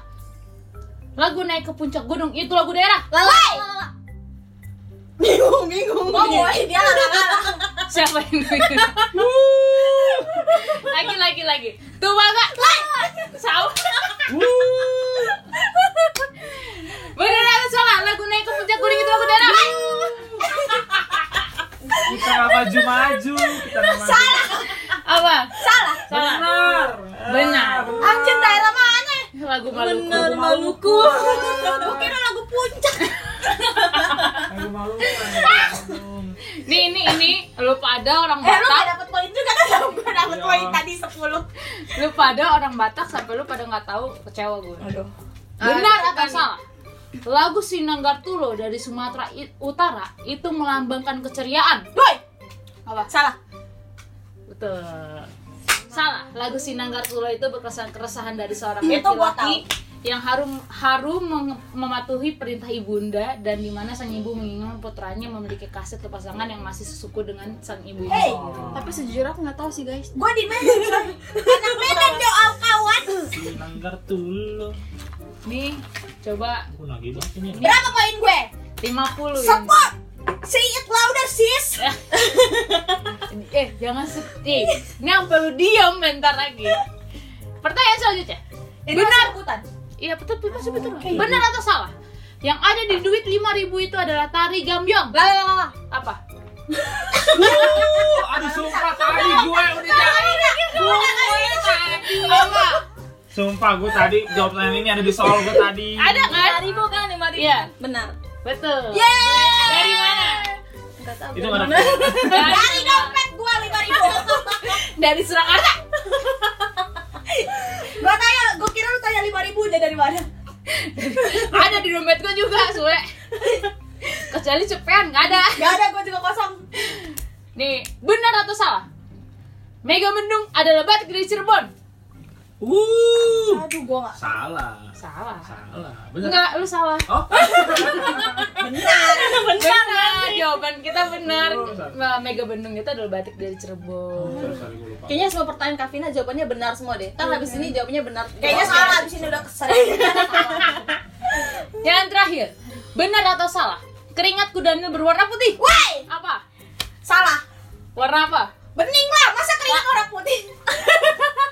Speaker 1: Lagu naik ke puncak gunung itu lagu daerah.
Speaker 2: Woi!
Speaker 4: Bingung, bingung.
Speaker 2: Oh, woi dia larang-larang
Speaker 1: Siapa yang bikin? lagi lagi lagi. Tuh bangga. Salah. Benar atau salah? Lagu naik ke puncak gunung itu lagu daerah.
Speaker 3: Kita nggak maju-maju. Kita nggak maju.
Speaker 1: Apa?
Speaker 2: salah
Speaker 1: Salah.
Speaker 3: Benar.
Speaker 1: Benar.
Speaker 2: anjir daerah mana
Speaker 1: Lagu Maluku.
Speaker 4: Bener Maluku.
Speaker 2: eh. Gua kira lagu puncak
Speaker 3: Aku malu.
Speaker 1: Nih, ini ini lu pada orang
Speaker 2: eh lu
Speaker 1: Batak.
Speaker 2: gak dapet poin juga kan gue dapet
Speaker 3: Iya.
Speaker 2: poin tadi 10
Speaker 1: lu pada orang Batak sampai lu pada nggak tahu kecewa gue.
Speaker 2: Aduh. Ah,
Speaker 1: Benar atau salah? Lagu Sinanggartulo dari Sumatera I- Utara itu melambangkan keceriaan.
Speaker 2: Woi,
Speaker 1: Apa?
Speaker 2: salah.
Speaker 1: Betul. Salah. Lagu Sinanggartulo itu berkesan keresahan dari seorang
Speaker 2: Itu gua
Speaker 1: laki-laki yang harum harum meng- mematuhi perintah ibunda dan di mana sang ibu menginginkan putranya memiliki kasih atau pasangan yang masih sesuku dengan sang ibu.
Speaker 2: Hey,
Speaker 4: Tapi sejujurnya aku nggak tahu sih guys.
Speaker 2: gue di Medan, coy. anak Medan doa kawan.
Speaker 3: Nanggar dulu.
Speaker 1: Nih, coba
Speaker 3: Aku lagi banget ini.
Speaker 2: Berapa poin gue?
Speaker 1: 50 ini.
Speaker 2: Support. Say it louder, sis.
Speaker 1: Eh, jangan sedih. Ini sampai lu diam bentar lagi. Pertanyaan selanjutnya.
Speaker 2: Ini
Speaker 1: Benar.
Speaker 2: masih rebutan.
Speaker 1: Iya, betul, betul, masih betul. Benar atau salah? Yang ada di duit 5000 itu adalah tari gambyong. Lah, lah, lah, lah. Apa?
Speaker 3: Oh, aduh sumpah tadi gue udah jawab.
Speaker 1: Apa?
Speaker 3: Sumpah gue tadi jawab pertanyaan ini ada di soal gue tadi.
Speaker 1: Ada kan?
Speaker 2: 5000 kan 5000.
Speaker 1: Iya,
Speaker 4: Benar.
Speaker 1: betul.
Speaker 2: Yeay.
Speaker 1: Dari mana?
Speaker 4: Nggak tahu.
Speaker 3: Itu nggak ada.
Speaker 2: Dari dompet gue 5000.
Speaker 1: Dari Surakarta.
Speaker 2: Gue tanya, gue kira lu tanya 5000 udah dari mana?
Speaker 1: Ada di dompet gua juga, Sule. Kecuali cepean nggak ada.
Speaker 2: Gak ada, gue juga kosong.
Speaker 1: Nih, benar atau salah? Mega Mendung adalah batik dari Cirebon.
Speaker 3: Uh.
Speaker 2: Aduh, gue gak.
Speaker 3: Salah.
Speaker 1: Salah.
Speaker 3: Salah. Benar.
Speaker 1: Enggak, lu salah.
Speaker 3: Oh.
Speaker 1: benar jawaban kita benar
Speaker 3: Oh, benar.
Speaker 1: Nah, Mega Bandung itu adalah batik dari Cirebon
Speaker 3: Sorry, sorry, gue lupa.
Speaker 4: Kayaknya semua pertanyaan Kavina jawabannya benar semua deh. Ntar habis ini jawabannya benar.
Speaker 2: Kayaknya salah abis ini udah keseringan.
Speaker 1: yang terakhir benar atau salah keringat kudanil berwarna putih
Speaker 2: Woi,
Speaker 1: apa
Speaker 2: salah.
Speaker 1: warna apa
Speaker 2: Bening lah, masa keringat orang putih?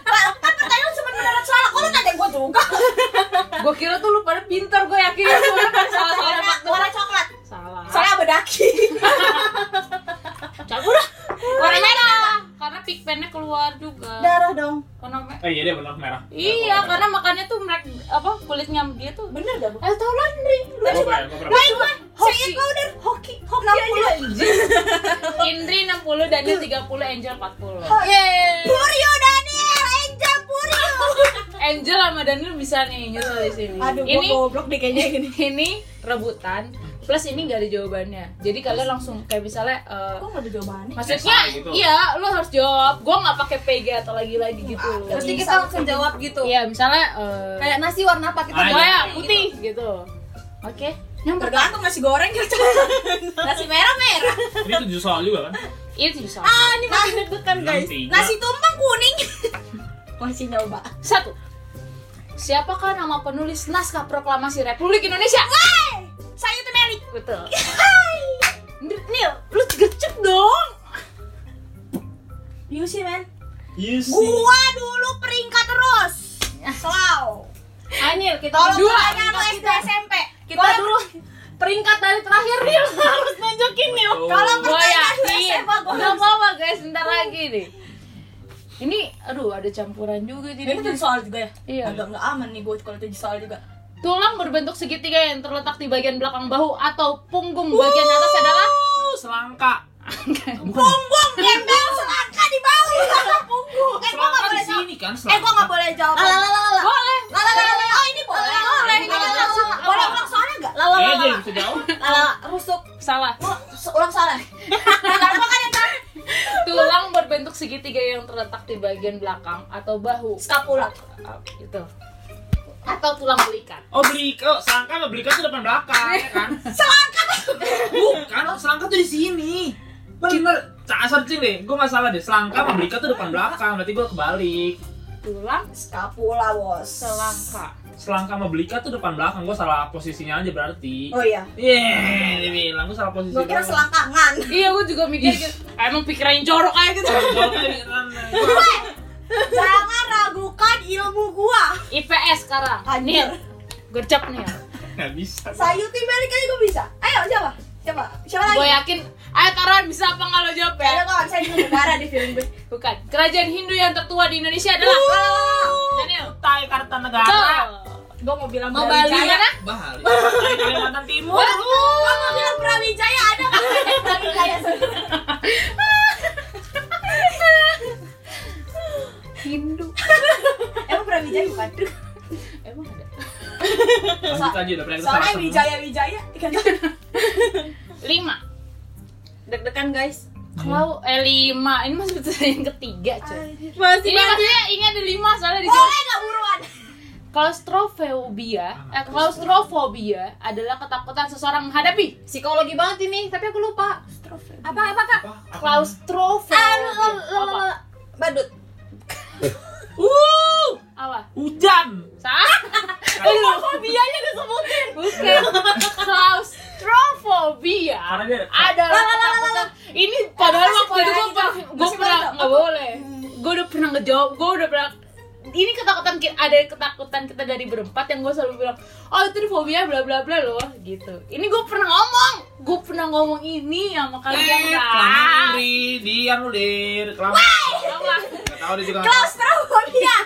Speaker 2: Lah, Kan pertanyaan lu cuma beneran salah, kok lu tanya gue juga?
Speaker 1: gue kira tuh lu pada pintar gue yakin lu pada salah salah
Speaker 2: Warna, warna coklat,
Speaker 1: salah
Speaker 2: soalnya bedaki
Speaker 1: cabut dah warna merah karena pigmentnya keluar juga
Speaker 4: Darah dong.
Speaker 1: warna me-
Speaker 3: Eh iya deh benar merah.
Speaker 1: iya karena makannya tuh merek apa kulitnya dia tuh
Speaker 2: Bener gak, Bu?
Speaker 1: Eh, tau laundry lu
Speaker 3: Gue
Speaker 1: cuma
Speaker 3: pernah, gue pernah.
Speaker 2: Woi, gue, saya itu udah hoki, hoki aja
Speaker 1: Indri 60, Daniel 30, Angel 40
Speaker 2: Yeay Purio Daniel, Angel Purio
Speaker 1: Angel sama Daniel bisa nih nyusul di sini.
Speaker 2: Aduh, gue
Speaker 1: ini
Speaker 2: goblok deh kayaknya gini
Speaker 1: ini rebutan plus ini gak ada jawabannya. Jadi kalian langsung kayak misalnya eh,
Speaker 2: Kok gak ada jawabannya?
Speaker 1: maksudnya
Speaker 3: Esai gitu.
Speaker 1: iya lu harus jawab. Gua nggak pakai PG atau lagi-lagi gitu loh.
Speaker 4: Pasti kita langsung jawab gitu.
Speaker 1: Iya, misalnya eh,
Speaker 4: Kayak nasi warna apa kita
Speaker 3: Ah,
Speaker 1: gua
Speaker 4: jawab.
Speaker 1: ya
Speaker 3: gitu.
Speaker 1: putih gitu. Oke. Yang pertama
Speaker 2: Tergantung nasi goreng ya, cowok Nasi merah-merah
Speaker 3: Ini tujuh soal juga kan?
Speaker 1: itu bisa.
Speaker 2: Ah, ini masih deg-degan guys
Speaker 3: Enam, tiga.
Speaker 2: Nasi tumpeng kuning Masih nyoba
Speaker 1: Satu. Siapakah nama penulis naskah proklamasi Republik Indonesia?
Speaker 2: Woi, saya itu Meli
Speaker 1: Betul.
Speaker 2: Hai
Speaker 1: Nil, lu gercep dong.
Speaker 2: You see, man
Speaker 3: Yes.
Speaker 2: Iya Gua dulu peringkat terus Iya. Selalu
Speaker 4: Anil, kita
Speaker 2: Tolong
Speaker 1: Dua.
Speaker 2: pertanyaan lu SD SMP
Speaker 4: kita dulu peringkat dari terakhir Nil harus nunjukin Nil.
Speaker 2: Kalau
Speaker 1: Gue
Speaker 2: pertanyaan lu
Speaker 1: yakin
Speaker 2: SMA gua
Speaker 1: Gak apa-apa guys, bentar lagi nih Ini, aduh ada campuran juga
Speaker 2: Ini
Speaker 1: jadi
Speaker 2: tujuh soal juga ya?
Speaker 1: Iya.
Speaker 2: Agak nggak aman nih gue kalau tujuh soal juga
Speaker 1: Tulang berbentuk segitiga yang terletak di bagian belakang bahu atau punggung bagian atas adalah
Speaker 3: Uh, selangka. Bukan.
Speaker 2: Punggung, embel, selangka di bawah Punggung Eh gue nggak boleh
Speaker 3: Selangka
Speaker 2: jawab
Speaker 3: di ini kan
Speaker 2: Eh, gua nggak
Speaker 3: selamat.
Speaker 2: boleh jawab.
Speaker 4: Lala lala lala.
Speaker 1: boleh
Speaker 2: Lala, lala, lala. Oh, ini boleh.
Speaker 4: Lala, lala,
Speaker 2: Ini
Speaker 4: lala,
Speaker 2: boleh
Speaker 4: lala.
Speaker 2: langsung. Boleh ulang soalnya nggak?
Speaker 4: Lala
Speaker 3: Eh,
Speaker 4: lala.
Speaker 3: dia bisa jawab.
Speaker 2: Lala, rusuk.
Speaker 1: salah
Speaker 2: Lu ulang soalnya. Lala, kan yang terakhir.
Speaker 1: tulang berbentuk segitiga yang terletak di bagian belakang atau bahu
Speaker 2: Skapula.
Speaker 1: Ah, itu atau tulang belikat
Speaker 3: Oh beli, oh selangkah sama belikat tuh depan belakang ya kan? selangkah bukan, oh, selangkah tuh di sini. Bener, cak searching deh, gue nggak salah deh. Selangkah sama belikat tuh depan belakang, berarti gue kebalik.
Speaker 1: tulang
Speaker 2: Skapula, bos.
Speaker 1: selangka
Speaker 3: Selangkah sama belikat tuh depan belakang, gue salah posisinya aja berarti.
Speaker 2: Oh iya.
Speaker 3: Yeay, dia bilang gue salah posisi.
Speaker 2: Gua kira
Speaker 3: doang.
Speaker 2: selangkangan.
Speaker 1: iya gua juga mikir gitu emang pikirannya jorok aja gitu
Speaker 3: Jawabnya di sana. Gua-
Speaker 2: Jangan ragukan ilmu gua.
Speaker 1: IPS sekarang
Speaker 2: Anjir.
Speaker 1: Nil gercep nih
Speaker 3: Nggak bisa.
Speaker 2: Sayuti balik aja gua bisa. Ayo, siapa? Siapa? Siapa
Speaker 1: gue
Speaker 2: lagi?
Speaker 1: yakin ayo taruhan bisa apa nggak lo jawab ya
Speaker 2: Kayaknya gua nggak bisa ini negara di film gue.
Speaker 1: bukan kerajaan Hindu yang tertua di Indonesia adalah Daniel
Speaker 3: Tai Kartanegara.
Speaker 1: Betul.
Speaker 2: Gua mau ya? bilang
Speaker 4: Mau
Speaker 2: Brawijaya.
Speaker 4: balik.
Speaker 1: Gimana?
Speaker 3: Bali. Tai Kalimantan Timur.
Speaker 2: Gua mau bilang Brawijaya ada kan? Brawijaya sendiri.
Speaker 1: Hindu
Speaker 2: Emang Brawijaya bukan?
Speaker 1: emang ada
Speaker 3: Lanjut aja udah pernah
Speaker 2: Soalnya Wijaya Wijaya dikatakan
Speaker 1: lima
Speaker 4: Deg-degan guys.
Speaker 1: kalau eh lima ini masih betul yang ketiga cuy
Speaker 4: Masih
Speaker 1: ini
Speaker 4: banyak. Eh,
Speaker 1: maksudnya ini ada lima soalnya di
Speaker 2: boleh nggak buruan?
Speaker 1: Klaustrofobia, eh, klaustrofobia adalah ketakutan seseorang menghadapi
Speaker 4: Psikologi banget ini, tapi aku lupa.
Speaker 2: Apa apa kak?
Speaker 4: Ah,
Speaker 1: Kan, klaustrofobia. Apa?
Speaker 4: Badut.
Speaker 3: Uh,
Speaker 1: Apa?
Speaker 3: hujan.
Speaker 1: Salah?
Speaker 4: Fobianya disebutin.
Speaker 1: Bukan. Klaustrofobia
Speaker 3: Karena dia
Speaker 1: adalah ketakutan. Ini padahal
Speaker 2: masih
Speaker 1: waktu itu
Speaker 2: boleh
Speaker 1: gue
Speaker 2: gitu.
Speaker 1: pernah, gue
Speaker 2: Masih
Speaker 1: pernah
Speaker 2: boleh.
Speaker 1: nggak boleh. Gue udah pernah ngejawab, gue udah pernah ini ketakutan ki- ada ketakutan kita dari berempat yang gue selalu bilang oh itu di fobia bla bla bla loh gitu ini gue pernah ngomong gue pernah ngomong ini sama
Speaker 3: Iya,
Speaker 1: kalian kan
Speaker 3: Ri, dia lu dir. Kelam.
Speaker 1: Apa?
Speaker 3: Enggak tahu dia juga.
Speaker 2: Klaustrofobia.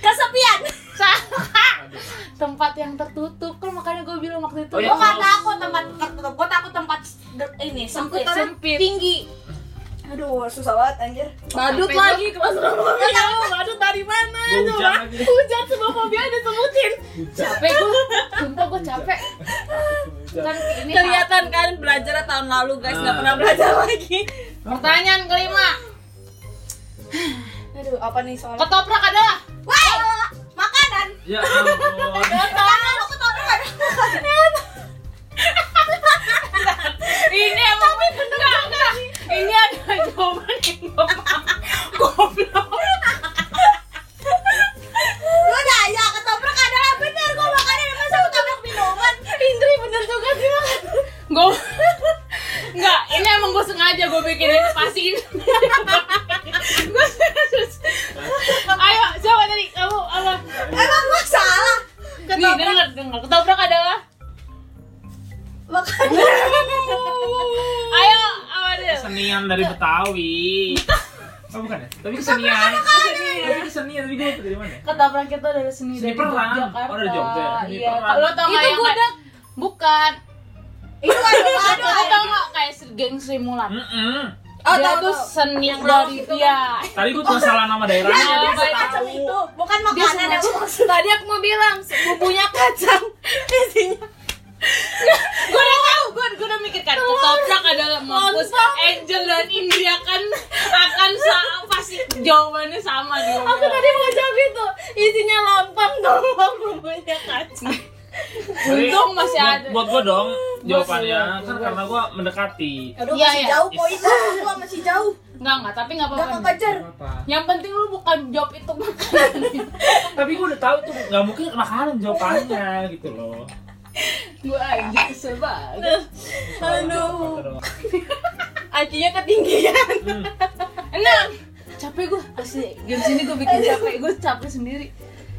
Speaker 2: Kesepian.
Speaker 1: Salah.
Speaker 3: Aduh.
Speaker 1: tempat yang tertutup kan makanya gue bilang waktu itu
Speaker 3: Oh,
Speaker 2: Gua
Speaker 3: iya.
Speaker 2: nggak takut tempat tertutup. Gua takut tempat de- ini sempit. kan?
Speaker 1: Sempit. sempit.
Speaker 4: tinggi.
Speaker 2: Aduh susah banget anjir.
Speaker 4: Badut
Speaker 1: Sampai
Speaker 4: lagi klaustrofobia. Tahu badut dari mana?
Speaker 3: Gua hujan lagi.
Speaker 4: Hujan semua fobia disebutin.
Speaker 1: capek gue sumpah gue capek
Speaker 3: Hujan.
Speaker 1: kan ini
Speaker 4: Kelihatan kan belajar tahun lalu guys, nggak pernah belajar lagi.
Speaker 1: pertanyaan kelima
Speaker 2: Aduh apa nih soalnya?
Speaker 1: ketoprak adalah
Speaker 2: Wah makanan.
Speaker 3: Ya ampun.
Speaker 2: Makanan aku ketoprak.
Speaker 1: ini emang enggak enggak ini ada jawaban yang gue goblok
Speaker 2: Lu dah ya ketoprak adalah bener. Gua makanan masa ketoprak minuman.
Speaker 1: Indri bener juga sih banget gue enggak ini emang gue sengaja gue bikin ini pastiin gue serius ayo coba tadi kamu apa
Speaker 2: Emang gua salah.
Speaker 1: nih denger denger ketoprak adalah
Speaker 2: Makanan.
Speaker 1: ayo apa dia
Speaker 3: Kesenian dari Betawi. Oh bukan ya? Tapi kesenian. Tapi kesenian tadi gua dari mana?
Speaker 1: ketoprak itu dari seni dari
Speaker 3: Seni perang.
Speaker 1: Jakarta.
Speaker 3: Oh, dari Jogja. Seni
Speaker 1: Iya.
Speaker 3: perang.
Speaker 1: Lo tau nggak
Speaker 4: Itu
Speaker 1: yang kayak bukan.
Speaker 2: Itu aduh aduh.
Speaker 1: Lo tau nggak kayak geng Sri Mulat?
Speaker 3: Heeh.
Speaker 2: Oh
Speaker 1: dia
Speaker 2: tahu
Speaker 1: tuh
Speaker 2: tuh.
Speaker 1: seni
Speaker 4: Yang raus
Speaker 1: dari iya.
Speaker 4: itu kan?
Speaker 1: dia.
Speaker 3: Tadi gua cuma salah nama daerahnya.
Speaker 1: Ya,
Speaker 3: dia
Speaker 1: dia
Speaker 3: nggak
Speaker 1: macam
Speaker 3: tahu.
Speaker 2: Itu bukan
Speaker 4: Dia
Speaker 2: makanan yang gua
Speaker 4: semua-
Speaker 2: maksud.
Speaker 4: Tadi aku mau bilang bumbunya kacang, isinya
Speaker 1: Gue udah tahu. Gue gue udah mikir kan. Ketoprak adalah mampus.
Speaker 4: Lontong.
Speaker 1: Angel dan Indri akan akan sa- pasti jawabannya sama nih.
Speaker 4: Aku tadi mau jawab itu Isinya lontong doang bumbunya kacang
Speaker 3: Jadi,
Speaker 1: Untung masih
Speaker 3: buat-
Speaker 1: ada.
Speaker 3: Buat gua dong jawabannya
Speaker 1: Masih ada.
Speaker 3: kan karena gua mendekati.
Speaker 2: Aduh
Speaker 1: Iya,
Speaker 2: masih
Speaker 1: iya.
Speaker 2: jauh poin lu. Gua masih jauh.
Speaker 1: Enggak enggak. Tapi nggak
Speaker 2: Gak
Speaker 1: apa-apa.
Speaker 2: kekejar.
Speaker 3: Apa?
Speaker 1: Yang penting lu bukan job itu makan.
Speaker 3: Tapi gua udah tahu tuh nggak mungkin makanan jawabannya gitu loh.
Speaker 1: gue anjir kesel banget.
Speaker 3: Aduh.
Speaker 4: Acinya ketinggian
Speaker 1: Enam. Capek gue pasti game sini gue bikin capek gue capek sendiri.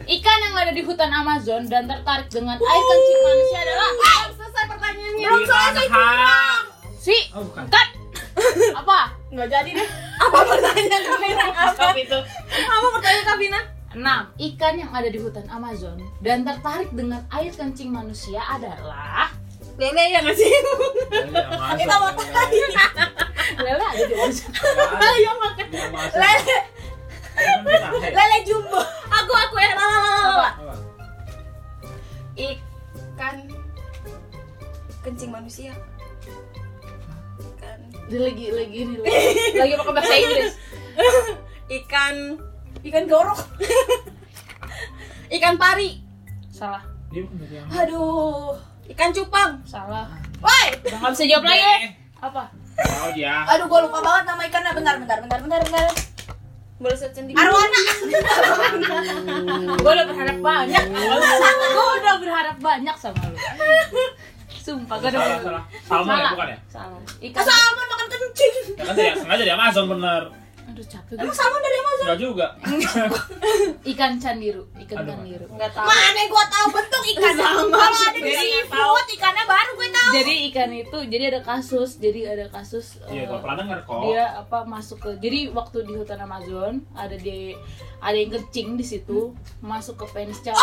Speaker 1: Ikan yang ada di hutan Amazon dan tertarik dengan air kencing manusia adalah
Speaker 4: Belum selesai pertanyaannya
Speaker 3: Belum
Speaker 1: si
Speaker 3: Oh bukan.
Speaker 1: kat apa?
Speaker 2: Gak jadi deh.
Speaker 4: Apa pertanyaan Kabina? Apa,
Speaker 3: Stop itu.
Speaker 4: apa pertanyaan Kabina?
Speaker 1: 6. Ikan yang ada di hutan Amazon dan tertarik dengan air kencing manusia adalah
Speaker 4: Lele ya gak sih?
Speaker 2: Kita mau tanya.
Speaker 1: Lele ada di Amazon.
Speaker 4: Ayo makan
Speaker 2: Lele.
Speaker 3: bentar, hei.
Speaker 2: lele jumbo
Speaker 4: Aku aku
Speaker 1: eh,
Speaker 4: ya. La la la la, la.
Speaker 3: Apa?
Speaker 5: Ikan kencing manusia. Ikan
Speaker 1: Dia lagi lagi ini lagi, lagi pakai bahasa Inggris.
Speaker 4: Ikan
Speaker 2: ikan gorok
Speaker 4: ikan pari,
Speaker 1: Salah,
Speaker 3: Dia bukan dari yang-
Speaker 2: aduh
Speaker 4: ikan cupang.
Speaker 1: salah.
Speaker 2: woi
Speaker 1: Udah nggak bisa jawab lagi. Apa?
Speaker 3: Tahu dia.
Speaker 2: aduh gua lupa banget nama ikannya bentar bentar bentar bentar bentar
Speaker 5: Balasan sendiri.
Speaker 2: arwana
Speaker 1: Gue udah berharap banyak. Gue udah berharap banyak sama lu. Sumpah gue udah.
Speaker 3: Salah, salah. Salmon ya,
Speaker 1: Salah.
Speaker 3: bukan ya?
Speaker 1: Salah. Ikan.
Speaker 2: salmon makan kencing
Speaker 3: Ya kan dari sengaja dari Amazon bener.
Speaker 1: Aduh capek gue.
Speaker 2: emang salmon dari mana
Speaker 3: Enggak juga.
Speaker 1: Ikan candiru. Ikan
Speaker 3: Aduh.
Speaker 1: candiru.
Speaker 5: Enggak tahu.
Speaker 2: mana gua tahu bentuk ikan kalau ada di
Speaker 5: Beda,
Speaker 2: seafood ikannya baru gue tahu
Speaker 1: Jadi ikan itu jadi ada kasus. Jadi ada kasus.
Speaker 3: Iya,
Speaker 1: eh,
Speaker 3: kalau pernah denger kok.
Speaker 1: dia apa masuk ke jadi waktu di hutan Amazon ada di ada yang kencing di situ masuk ke penis cewek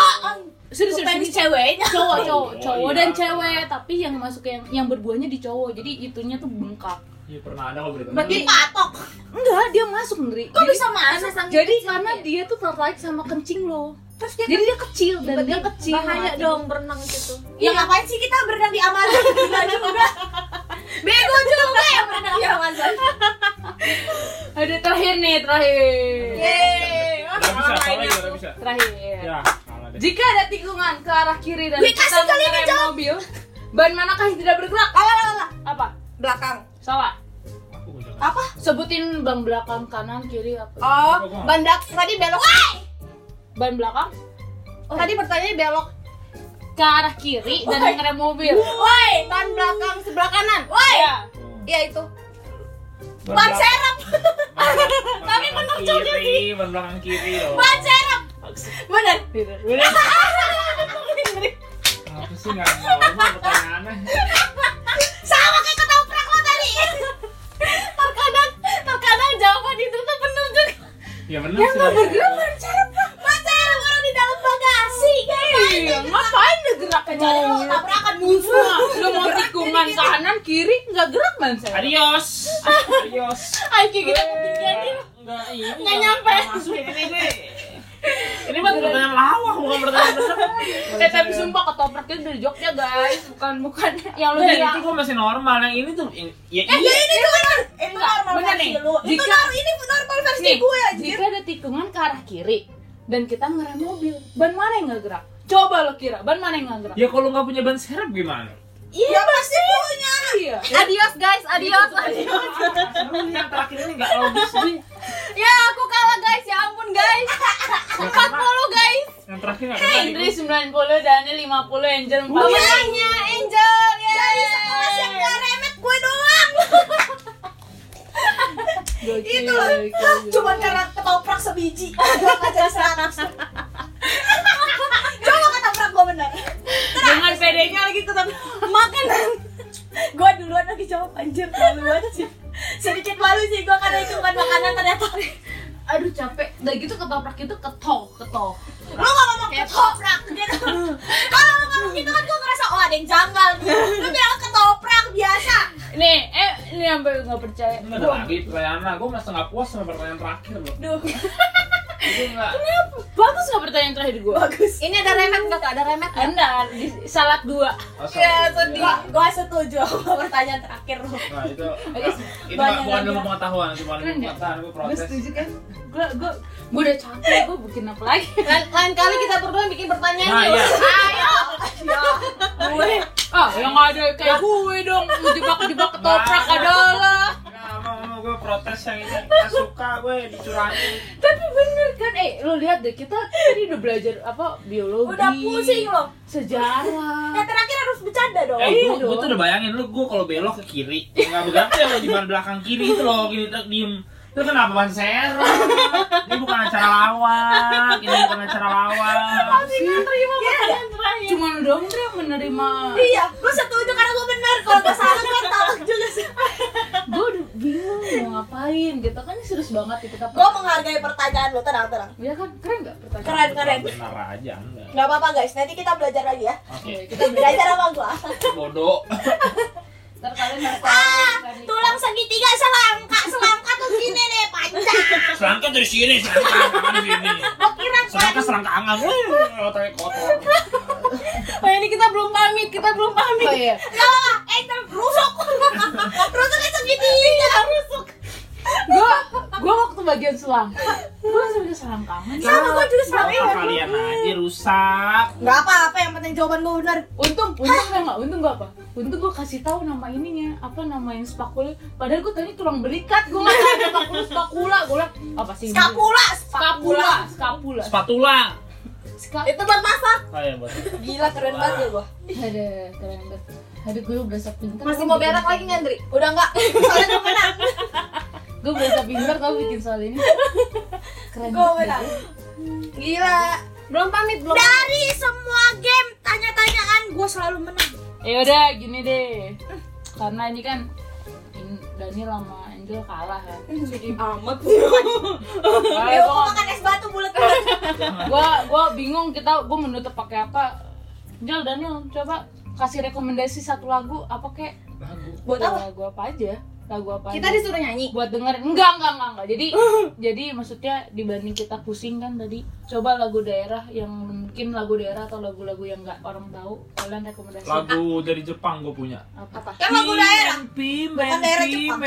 Speaker 1: serius serius, serius
Speaker 2: ceweknya
Speaker 1: cowok cowok
Speaker 3: Cowok,
Speaker 1: cowok
Speaker 3: iya.
Speaker 1: dan cewek tapi yang masuk ke yang yang berbuahnya di cowok jadi itunya tuh bengkak
Speaker 3: Iya, pernah ada kok berita.
Speaker 1: Berarti-
Speaker 2: patok
Speaker 1: enggak dia masuk ngeri
Speaker 2: kok
Speaker 1: Jadi-
Speaker 2: bisa masuk
Speaker 1: jadi karena dia tuh tertarik sama kencing lo
Speaker 2: terus dia
Speaker 1: jadi dia kecil dan dia kecil
Speaker 5: Bahaya dong berenang gitu.
Speaker 2: Ya ngapain sih kita berenang di Amazon? Gila juga. Bego juga yang berenang di Amazon.
Speaker 1: ada terakhir nih terakhir
Speaker 2: Yeay.
Speaker 3: Enggak bisa, soalnya juga enggak bisa.
Speaker 1: terakhir
Speaker 2: Iya.
Speaker 3: Ya, salah deh.
Speaker 1: Jika ada tikungan ke arah kiri dan
Speaker 2: Gue
Speaker 1: kita
Speaker 2: kasih kali ini,
Speaker 1: mengerem mobil, ban manakah yang tidak bergerak?
Speaker 2: Alah, alah, alah.
Speaker 1: Apa?
Speaker 2: Belakang.
Speaker 1: Salah.
Speaker 3: Aku udah nggak-
Speaker 2: Apa?
Speaker 1: Sebutin ban belakang kanan kiri apa?
Speaker 2: Oh, ban belakang tadi belok.
Speaker 1: Ban belakang
Speaker 2: Tadi pertanyaannya belok.
Speaker 1: ke arah kiri dan
Speaker 2: Woi.
Speaker 1: mengerem mobil.
Speaker 2: Woi, ban belakang sebelah kanan. Woi.
Speaker 1: Iya.
Speaker 2: Iya itu.
Speaker 3: Ban
Speaker 2: Ban
Speaker 3: belakang-
Speaker 2: serep.
Speaker 3: ban
Speaker 2: Tapi
Speaker 3: belakang
Speaker 2: bener juga
Speaker 3: kiri, Ban belakang kiri dong.
Speaker 2: Ban serep. Bener.
Speaker 3: Apa sih enggak normal pertanyaannya?
Speaker 2: Sama kayak ketoprak lo tadi. terkadang terkadang jawaban itu tuh bener juga.
Speaker 3: Ya bener sih. Bang.
Speaker 2: Ban serep. Ban serep orang di dalam bagasi.
Speaker 1: Iya, ngapain lu gerak ke
Speaker 2: Jadi lo
Speaker 1: jalan?
Speaker 2: tabrakan musuh.
Speaker 1: Oh, Lu mau tikungan kanan kiri nggak gerak ban saya.
Speaker 3: Adios. Adios.
Speaker 1: Ayo kita ketinggian nih.
Speaker 3: Enggak
Speaker 1: Eh,
Speaker 3: ini.
Speaker 1: iya, Nggak nyampe.
Speaker 3: Masuk ini gue. Ini mah pertanyaan lawak, bukan pertanyaan bener.
Speaker 1: Eh tapi sumpah ketopraknya dari Jogja guys, bukan bukan yang lu
Speaker 3: Enggak, itu
Speaker 1: bilang.
Speaker 3: gitu gua masih normal. Yang ini tuh yang- ya
Speaker 2: Ya
Speaker 3: iya.
Speaker 2: ini tuh bener. Itu
Speaker 1: Enggak,
Speaker 2: normal
Speaker 1: bener
Speaker 2: versi
Speaker 1: nih.
Speaker 2: lu. Itu
Speaker 1: Jika-
Speaker 2: normal ini normal versi
Speaker 1: Nih,
Speaker 2: gue anjir.
Speaker 1: jika ada tikungan ke arah kiri dan kita ngerem mobil, ban mana yang nggak gerak? Coba lo kira, ban mana yang nggak gerak?
Speaker 3: Ya kalau nggak punya ban serep gimana?
Speaker 2: Iya pasti punya.
Speaker 1: Iya.
Speaker 4: Adios guys, adios. adios.
Speaker 3: Lu yang terakhir ini nggak logis sih.
Speaker 4: Ya aku kalah guys, ya ampun guys.
Speaker 3: Nggak kena.
Speaker 4: Halo guys.
Speaker 3: Yang terakhir nggak kena.
Speaker 1: Indri 90, Dani 50, Angel 40.
Speaker 2: Pemenangnya Angel. Dari sekelas yang gak remet gue doang.
Speaker 1: Gokil,
Speaker 2: Itu loh.
Speaker 1: gokil.
Speaker 2: Cuma karena ketoprak sebiji. Gue akan jadi seratus. Coba ketoprak gue bener.
Speaker 1: Dengan PD-nya lagi tetap
Speaker 2: Makanan. Gue duluan lagi jawab anjir. Malu banget sih. Sedikit malu sih gue karena itu bukan makanan ternyata.
Speaker 1: aduh capek. Udah gitu ketoprak itu ketoh, ketoh.
Speaker 2: Lu gak ngomong ketoprak gitu Kalau lu ngomong gitu kan gue ngerasa oh ada yang janggal nih Lu bilang ketoprak biasa
Speaker 1: Nih, eh ini sampai nggak percaya.
Speaker 3: Nggak ada lagi pertanyaan lah. Gue masih nggak puas sama pertanyaan terakhir loh.
Speaker 2: Duh
Speaker 3: Gue nggak.
Speaker 1: Bagus nggak pertanyaan terakhir gue?
Speaker 2: bagus
Speaker 4: Ini ada remet enggak? Ada remet.
Speaker 1: Anda di salat dua.
Speaker 3: Oh, sorry.
Speaker 2: Ya sedih Gue setuju sama pertanyaan terakhir lu
Speaker 3: Nah, itu nggak- itu nggak- bukan ilmu pengetahuan, itu bukan ilmu
Speaker 1: Keren nggak?
Speaker 3: pengetahuan, gue
Speaker 1: Gue
Speaker 3: protes.
Speaker 1: setuju kan? Gue gue gue udah capek. Gue bikin apa lagi?
Speaker 4: Lain, lain kali kita berdua bikin pertanyaan
Speaker 3: Nah,
Speaker 4: yuk.
Speaker 3: iya.
Speaker 1: Gue ah yang nggak ada kayak gue dong. Jebak-jebak ketoprak
Speaker 3: Nah.
Speaker 1: adalah.
Speaker 3: Nggak mau, mau gue protes yang ini. Nggak suka gue dicurangi.
Speaker 1: Tapi bener kan? Eh lo lihat deh kita tadi udah belajar apa biologi.
Speaker 2: Udah pusing lo
Speaker 1: Sejarah.
Speaker 4: Eh,
Speaker 2: Yang terakhir harus bercanda dong
Speaker 3: Eh,
Speaker 1: Iya
Speaker 3: gue, gue
Speaker 1: dong.
Speaker 3: tuh udah bayangin lu gue kalau belok ke kiri, nggak bergerak tuh ya lo di ban belakang kiri itu loh, gini tuh diem. Itu kenapa ban serep? Ini bukan acara lawak, ini bukan acara lawak.
Speaker 1: Terima pertanyaan terakhir. Cuman dong dia menerima.
Speaker 2: Iya, gue setuju karena gue bener Kalau gue salah gue tolak juga sih
Speaker 4: Iya,
Speaker 1: Gue udah bingung mau ngapain gitu kan ini serius banget ya kita.
Speaker 2: Gue menghargai pertanyaan lu, tenang tenang
Speaker 1: Ya kan keren nggak pertanyaan?
Speaker 2: Keren keren
Speaker 3: Benar aja, enggak.
Speaker 2: Gak apa-apa guys, nanti kita belajar lagi ya
Speaker 3: Oke,
Speaker 1: Oke, kita belajar.
Speaker 2: Belajar sama gue
Speaker 3: bodoh.
Speaker 1: Ntar kalian harus
Speaker 2: Ah, tulang segitiga selangka Selangka tuh gini nih, panjang
Speaker 3: Selangkah tuh di sini, selangka angan di sini.
Speaker 4: Kira
Speaker 3: Selangka selangka angan, wih, otaknya kotor.
Speaker 4: Pak oh, ini kita belum pamit, kita belum pamit.
Speaker 1: Oh iya.
Speaker 2: Nah, eh ter- rusuk. Rusuknya segitiga rusuk.
Speaker 1: Gua gua waktu bagian selang. Gua langsung bisa selang kangen.
Speaker 2: Sama gua juga sama.
Speaker 3: Apa kalian aja rusak?
Speaker 4: Enggak apa-apa, yang penting jawaban gue benar.
Speaker 1: Untung, untung gua nggak, untung gua apa? Untung gua kasih tahu nama ininya, apa nama yang spakula. Padahal gua tadi tulang belikat, gua nggak tahu ada spakula spakula. Gua bilang apa sih? ini?
Speaker 2: Skapula,
Speaker 1: Skapula,
Speaker 2: skapula.
Speaker 1: skapula.
Speaker 3: Spatula.
Speaker 1: Ska-
Speaker 2: Itu buat masak.
Speaker 3: Oh iya, buat.
Speaker 2: Gila keren banget ya gua.
Speaker 1: Ada keren banget. Aduh, gue berasa pintar.
Speaker 5: Masih mau berak lagi nggak, Andri?
Speaker 2: Udah enggak. Soalnya gua menang.
Speaker 1: Gue berasa pintar tau bikin soal ini. Keren
Speaker 2: Gua
Speaker 1: banget.
Speaker 2: menang.
Speaker 4: Gila. Belum pamit, belum.
Speaker 2: Dari semua game tanya-tanyaan gua selalu menang.
Speaker 1: Ya udah, gini deh. Karena ini kan In- Daniel sama Angel kalah kan.
Speaker 2: Sedih amat.
Speaker 1: Kalah,
Speaker 2: Ya
Speaker 1: gua
Speaker 2: gua
Speaker 1: nggak-
Speaker 2: makan es batu bulat-bulat.
Speaker 1: gua gua bingung kita gua menutup pakai apa Jal Daniel coba kasih rekomendasi satu lagu apa kek
Speaker 3: Lagu.
Speaker 2: Buat apa?
Speaker 1: lagu apa aja lagu apa
Speaker 4: Kita
Speaker 1: aja.
Speaker 4: disuruh nyanyi.
Speaker 1: buat dengerin enggak enggak enggak enggak jadi jadi maksudnya dibanding kita pusing kan tadi coba lagu daerah yang mungkin lagu daerah atau lagu-lagu yang enggak orang tahu kalian rekomendasi
Speaker 3: Lagu dari Jepang gue punya.
Speaker 1: apa
Speaker 2: Kan lagu daerah.
Speaker 3: Pim,
Speaker 2: Bukan daerah Jepang.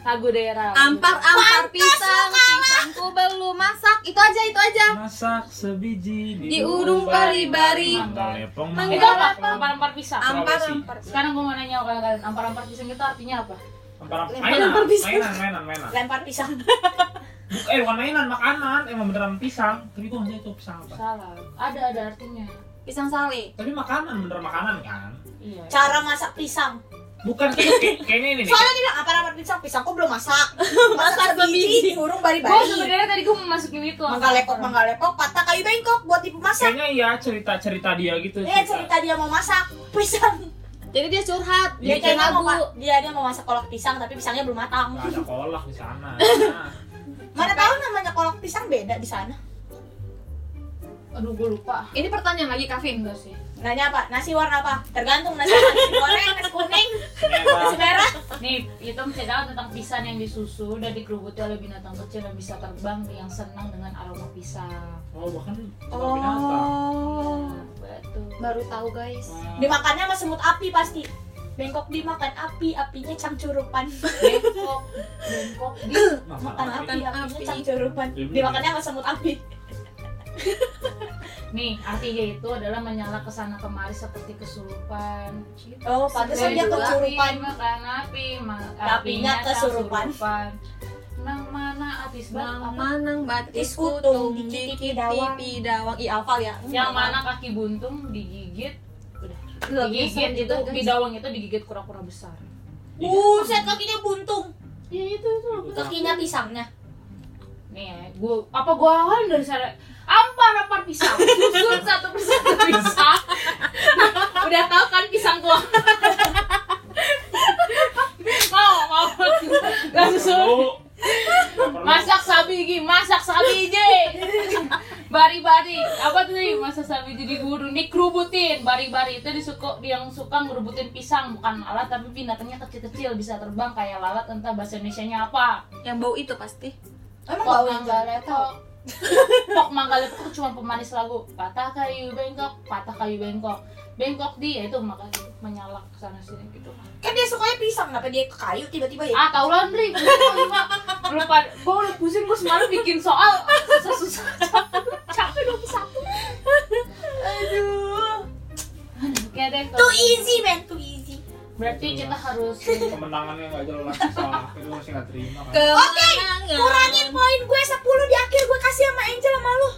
Speaker 1: lagu daerah
Speaker 4: Ampar ampar pisang, pisangku belum masak. Itu aja, itu aja.
Speaker 3: Masak sebiji
Speaker 4: Di udung bari-bari.
Speaker 3: Mangga lepong, mangga
Speaker 1: itu apa
Speaker 3: lepong.
Speaker 1: ampar ampar pisang
Speaker 3: Am-
Speaker 4: Ampar
Speaker 3: Sulawesi.
Speaker 4: ampar.
Speaker 1: sekarang gua mau nanya sama kalian ampar ampar pisang itu artinya apa
Speaker 3: Ampar- Mainan, mainan, mainan, mainan.
Speaker 2: Lempar pisang.
Speaker 3: Buk- Eh, bukan mainan, makanan. Emang beneran pisang. Tapi gue nggak tahu itu pisang apa.
Speaker 1: salah ada ada artinya
Speaker 4: Pisang sale.
Speaker 3: Tapi makanan, bener makanan kan?
Speaker 1: iya
Speaker 2: Cara masak pisang.
Speaker 3: Bukan kayak- kayak- kayaknya ini nih.
Speaker 2: Soalnya dia bilang apa rapat pisang? Pisang kok belum masak. Masak biji, urung
Speaker 1: Gue
Speaker 2: bari-bari.
Speaker 1: sebenarnya tadi gue mau masukin itu.
Speaker 2: Mangga lepok, mangga lepok, patah kayu bengkok buat ibu masak.
Speaker 3: Kayaknya iya cerita-cerita dia gitu.
Speaker 2: Dia Iya, cerita dia mau masak pisang.
Speaker 4: Jadi dia curhat,
Speaker 3: Dia
Speaker 4: dia bikin
Speaker 2: kayaknya mau
Speaker 4: lagu.
Speaker 2: ma- dia dia mau masak kolak pisang tapi pisangnya belum matang.
Speaker 3: Nggak ada kolak di sana.
Speaker 2: Mana tahu namanya kolak pisang beda di sana.
Speaker 1: Aduh gue lupa.
Speaker 5: Ini pertanyaan lagi, Kavin.
Speaker 1: Enggak sih.
Speaker 2: Nanya apa? Nasi warna apa? Tergantung nasi apa. Nasi goreng, nasi kuning, nasi
Speaker 3: Ternyata-
Speaker 2: merah.
Speaker 1: Nih, itu menceritakan tentang pisang yang disusu dan dikerubuti oleh binatang kecil yang bisa terbang yang senang dengan aroma pisang.
Speaker 3: Oh, bahkan oh. binatang.
Speaker 4: Oh.
Speaker 1: Betul.
Speaker 5: Baru tahu, guys.
Speaker 2: Dimakannya sama semut api pasti. Bengkok dimakan api, apinya cangcurupan.
Speaker 1: Bengkok, bengkok. Di-
Speaker 2: Makan
Speaker 5: Makan
Speaker 2: api, apinya
Speaker 5: api.
Speaker 2: cangcurupan. Dimakannya sama semut api.
Speaker 1: Nih, artinya itu adalah menyala kesana kemari seperti kesurupan.
Speaker 2: Oh, pantesan dia
Speaker 1: Seperti
Speaker 2: kecurupan.
Speaker 1: Iya, Makan api, ma-
Speaker 2: Apinya kesurupan.
Speaker 1: Nang mana atis
Speaker 4: Nang
Speaker 1: banget.
Speaker 4: manang batis kutung, dikiki dawang, pidawang, i alfal ya.
Speaker 1: Yang mana kaki buntung digigit, udah digigit
Speaker 4: gitu,
Speaker 1: itu bidawang itu digigit kura-kura besar
Speaker 2: Buset, kakinya buntung.
Speaker 1: ya itu itu
Speaker 2: Uh, Kakinya pisangnya.
Speaker 1: nih ya, gua apa gua awalin dari sana ampar ampar pisang susun satu persatu pisang udah tahu kan pisang gua mau mau nggak susun
Speaker 3: Oh.
Speaker 1: masak sabi gini masak sabi je bari bari apa tuh nih masak sabi jadi guru nih kerubutin bari bari itu disuka yang suka ngerubutin pisang bukan alat tapi binatangnya kecil kecil bisa terbang kayak lalat entah bahasa Indonesia nya apa
Speaker 4: Yang bau itu pasti.
Speaker 2: Emang
Speaker 1: Pok
Speaker 2: bau yang
Speaker 1: mangga lepok. Pok mangga lepok itu cuma pemanis lagu. Patah kayu bengkok, patah kayu bengkok. Bengkok dia itu makanya menyalak sana sini gitu.
Speaker 2: Kan dia sukanya pisang, kenapa dia ke kayu tiba-tiba ya?
Speaker 1: Ah, tau lah Andri. Gua lupa. Lupa. Gua udah pusing gua semalam bikin soal susah-susah. Capek dong satu.
Speaker 2: Aduh.
Speaker 1: Oke deh. kalau-
Speaker 2: Too easy, man, too easy.
Speaker 1: Berarti kita harus
Speaker 3: Kemenangannya nggak jelas soalnya itu masih nggak terima. kan.
Speaker 4: Kemenangan.
Speaker 2: Kurangin poin gue 10 di akhir gue kasih sama Angel sama lu.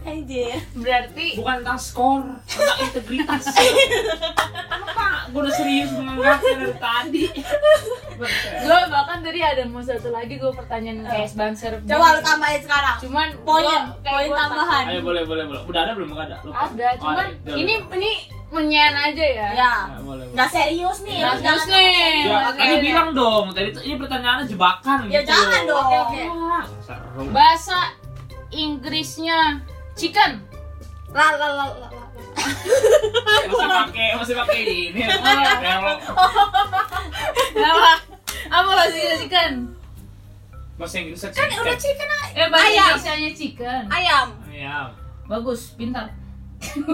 Speaker 2: Anjir.
Speaker 1: berarti
Speaker 3: Bukan tentang skor, tentang integritas. Apa? Gue udah serius menganggapnya dari tadi.
Speaker 1: gua bahkan tadi ada mau satu lagi gua pertanyaan kayak bahan serep.
Speaker 2: Coba lu tambahin sekarang.
Speaker 1: Cuman
Speaker 2: Poin,
Speaker 1: gua- kayak
Speaker 2: poin
Speaker 1: gua-
Speaker 2: tambahan.
Speaker 3: Ayo boleh boleh boleh. Udah ada belum? Nggak ada. Lupa.
Speaker 1: Ada,
Speaker 3: Oh,
Speaker 1: cuman
Speaker 3: ada.
Speaker 1: ini ini menyan aja ya.
Speaker 2: Ya.
Speaker 3: Nah, boleh, boleh.
Speaker 2: Nggak serius nih.
Speaker 1: Nggak
Speaker 2: lu
Speaker 1: serius
Speaker 2: jangan-
Speaker 1: nih.
Speaker 3: Ya,
Speaker 1: Oke,
Speaker 3: tadi
Speaker 1: oke.
Speaker 3: bilang dong, tadi tuh ini pertanyaannya jebakan
Speaker 2: Ya
Speaker 3: gitu.
Speaker 2: jangan dong.
Speaker 1: Oke, oke.
Speaker 3: Wah, seru.
Speaker 1: Bahasa Inggrisnya chicken.
Speaker 4: La la la la. la.
Speaker 3: Masih pakai masih pakai ini. Ya, Belok.
Speaker 1: Apa? Apa bahasa Inggris chicken?
Speaker 3: Bahasa Inggrisnya
Speaker 2: Kan
Speaker 3: chicken.
Speaker 2: udah chicken ay-
Speaker 1: Eh, bahasa
Speaker 2: Ayam.
Speaker 1: Indonesianya chicken.
Speaker 2: ayam.
Speaker 3: Ayam.
Speaker 1: Bagus, pintar.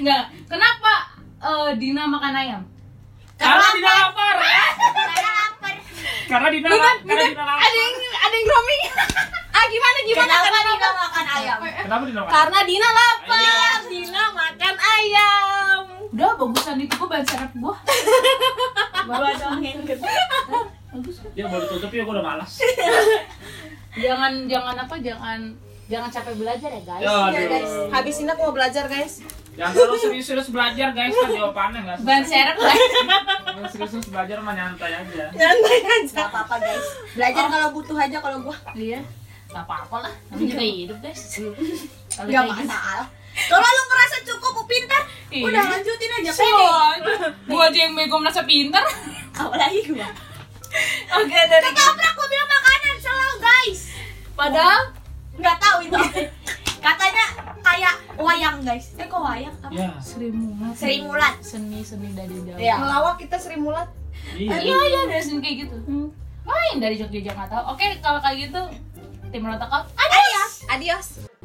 Speaker 1: Enggak. Kenapa eh, Dina makan ayam?
Speaker 3: Karena Dina lapar.
Speaker 2: Karena lapar.
Speaker 3: Karena Dina lapar. Karena Dina lapar.
Speaker 4: Ada yang gromi. ah gimana gimana
Speaker 2: Kenapa
Speaker 4: kenapa?
Speaker 2: Dina makan ayam?
Speaker 3: Kenapa Dina lapar? Iya.
Speaker 4: Karena Dina lapar.
Speaker 3: Ayam.
Speaker 4: Dina makan ayam.
Speaker 1: Udah bagusan itu gua bahan serep gua.
Speaker 4: Baru ada angin
Speaker 1: Bagus.
Speaker 3: Ya mau ditutup ya gue udah malas.
Speaker 1: Jangan jangan apa? Jangan jangan capek belajar ya, guys.
Speaker 3: Ya
Speaker 2: guys.
Speaker 3: aduh.
Speaker 4: iya, Habis ini aku mau belajar guys.
Speaker 3: Jangan terlalu serius-serius belajar guys kan jawabannya nggak susah.
Speaker 1: Bahan serep guys.
Speaker 3: Jangan Serius-serius belajar mah nyantai aja.
Speaker 4: Nyantai aja.
Speaker 2: Gak apa-apa guys. Belajar kalau butuh aja kalau gua
Speaker 1: Iya. Gak apa-apa lah. Namanya kita hidup, guys. Kalau
Speaker 2: nggak
Speaker 1: kayak gitu.
Speaker 2: masalah. Kalau lu merasa cukup lu pintar,
Speaker 1: Iya.
Speaker 2: udah lanjutin aja pending.
Speaker 1: Soalnya, gua aja yang bego merasa pintar.
Speaker 2: Apalagi gua.
Speaker 1: Oke, dari
Speaker 2: Ketabrak gua bilang makanan selalu guys.
Speaker 1: padahal
Speaker 2: Nggak tahu itu. Katanya kayak wayang guys. Eh kok wayang? Apa?
Speaker 3: Ya.
Speaker 1: Sri Mulat.
Speaker 2: Sri Mulat.
Speaker 1: Seni-seni dari jauh.
Speaker 2: Iya.
Speaker 5: Melawak kita Sri Mulat.
Speaker 1: Iya, iya, dari seni kayak gitu.
Speaker 2: Hmm.
Speaker 1: Lain dari Jogja Jakarta. Oke, kalau kayak gitu tim Rotakop
Speaker 2: Ada ya?
Speaker 5: Adios.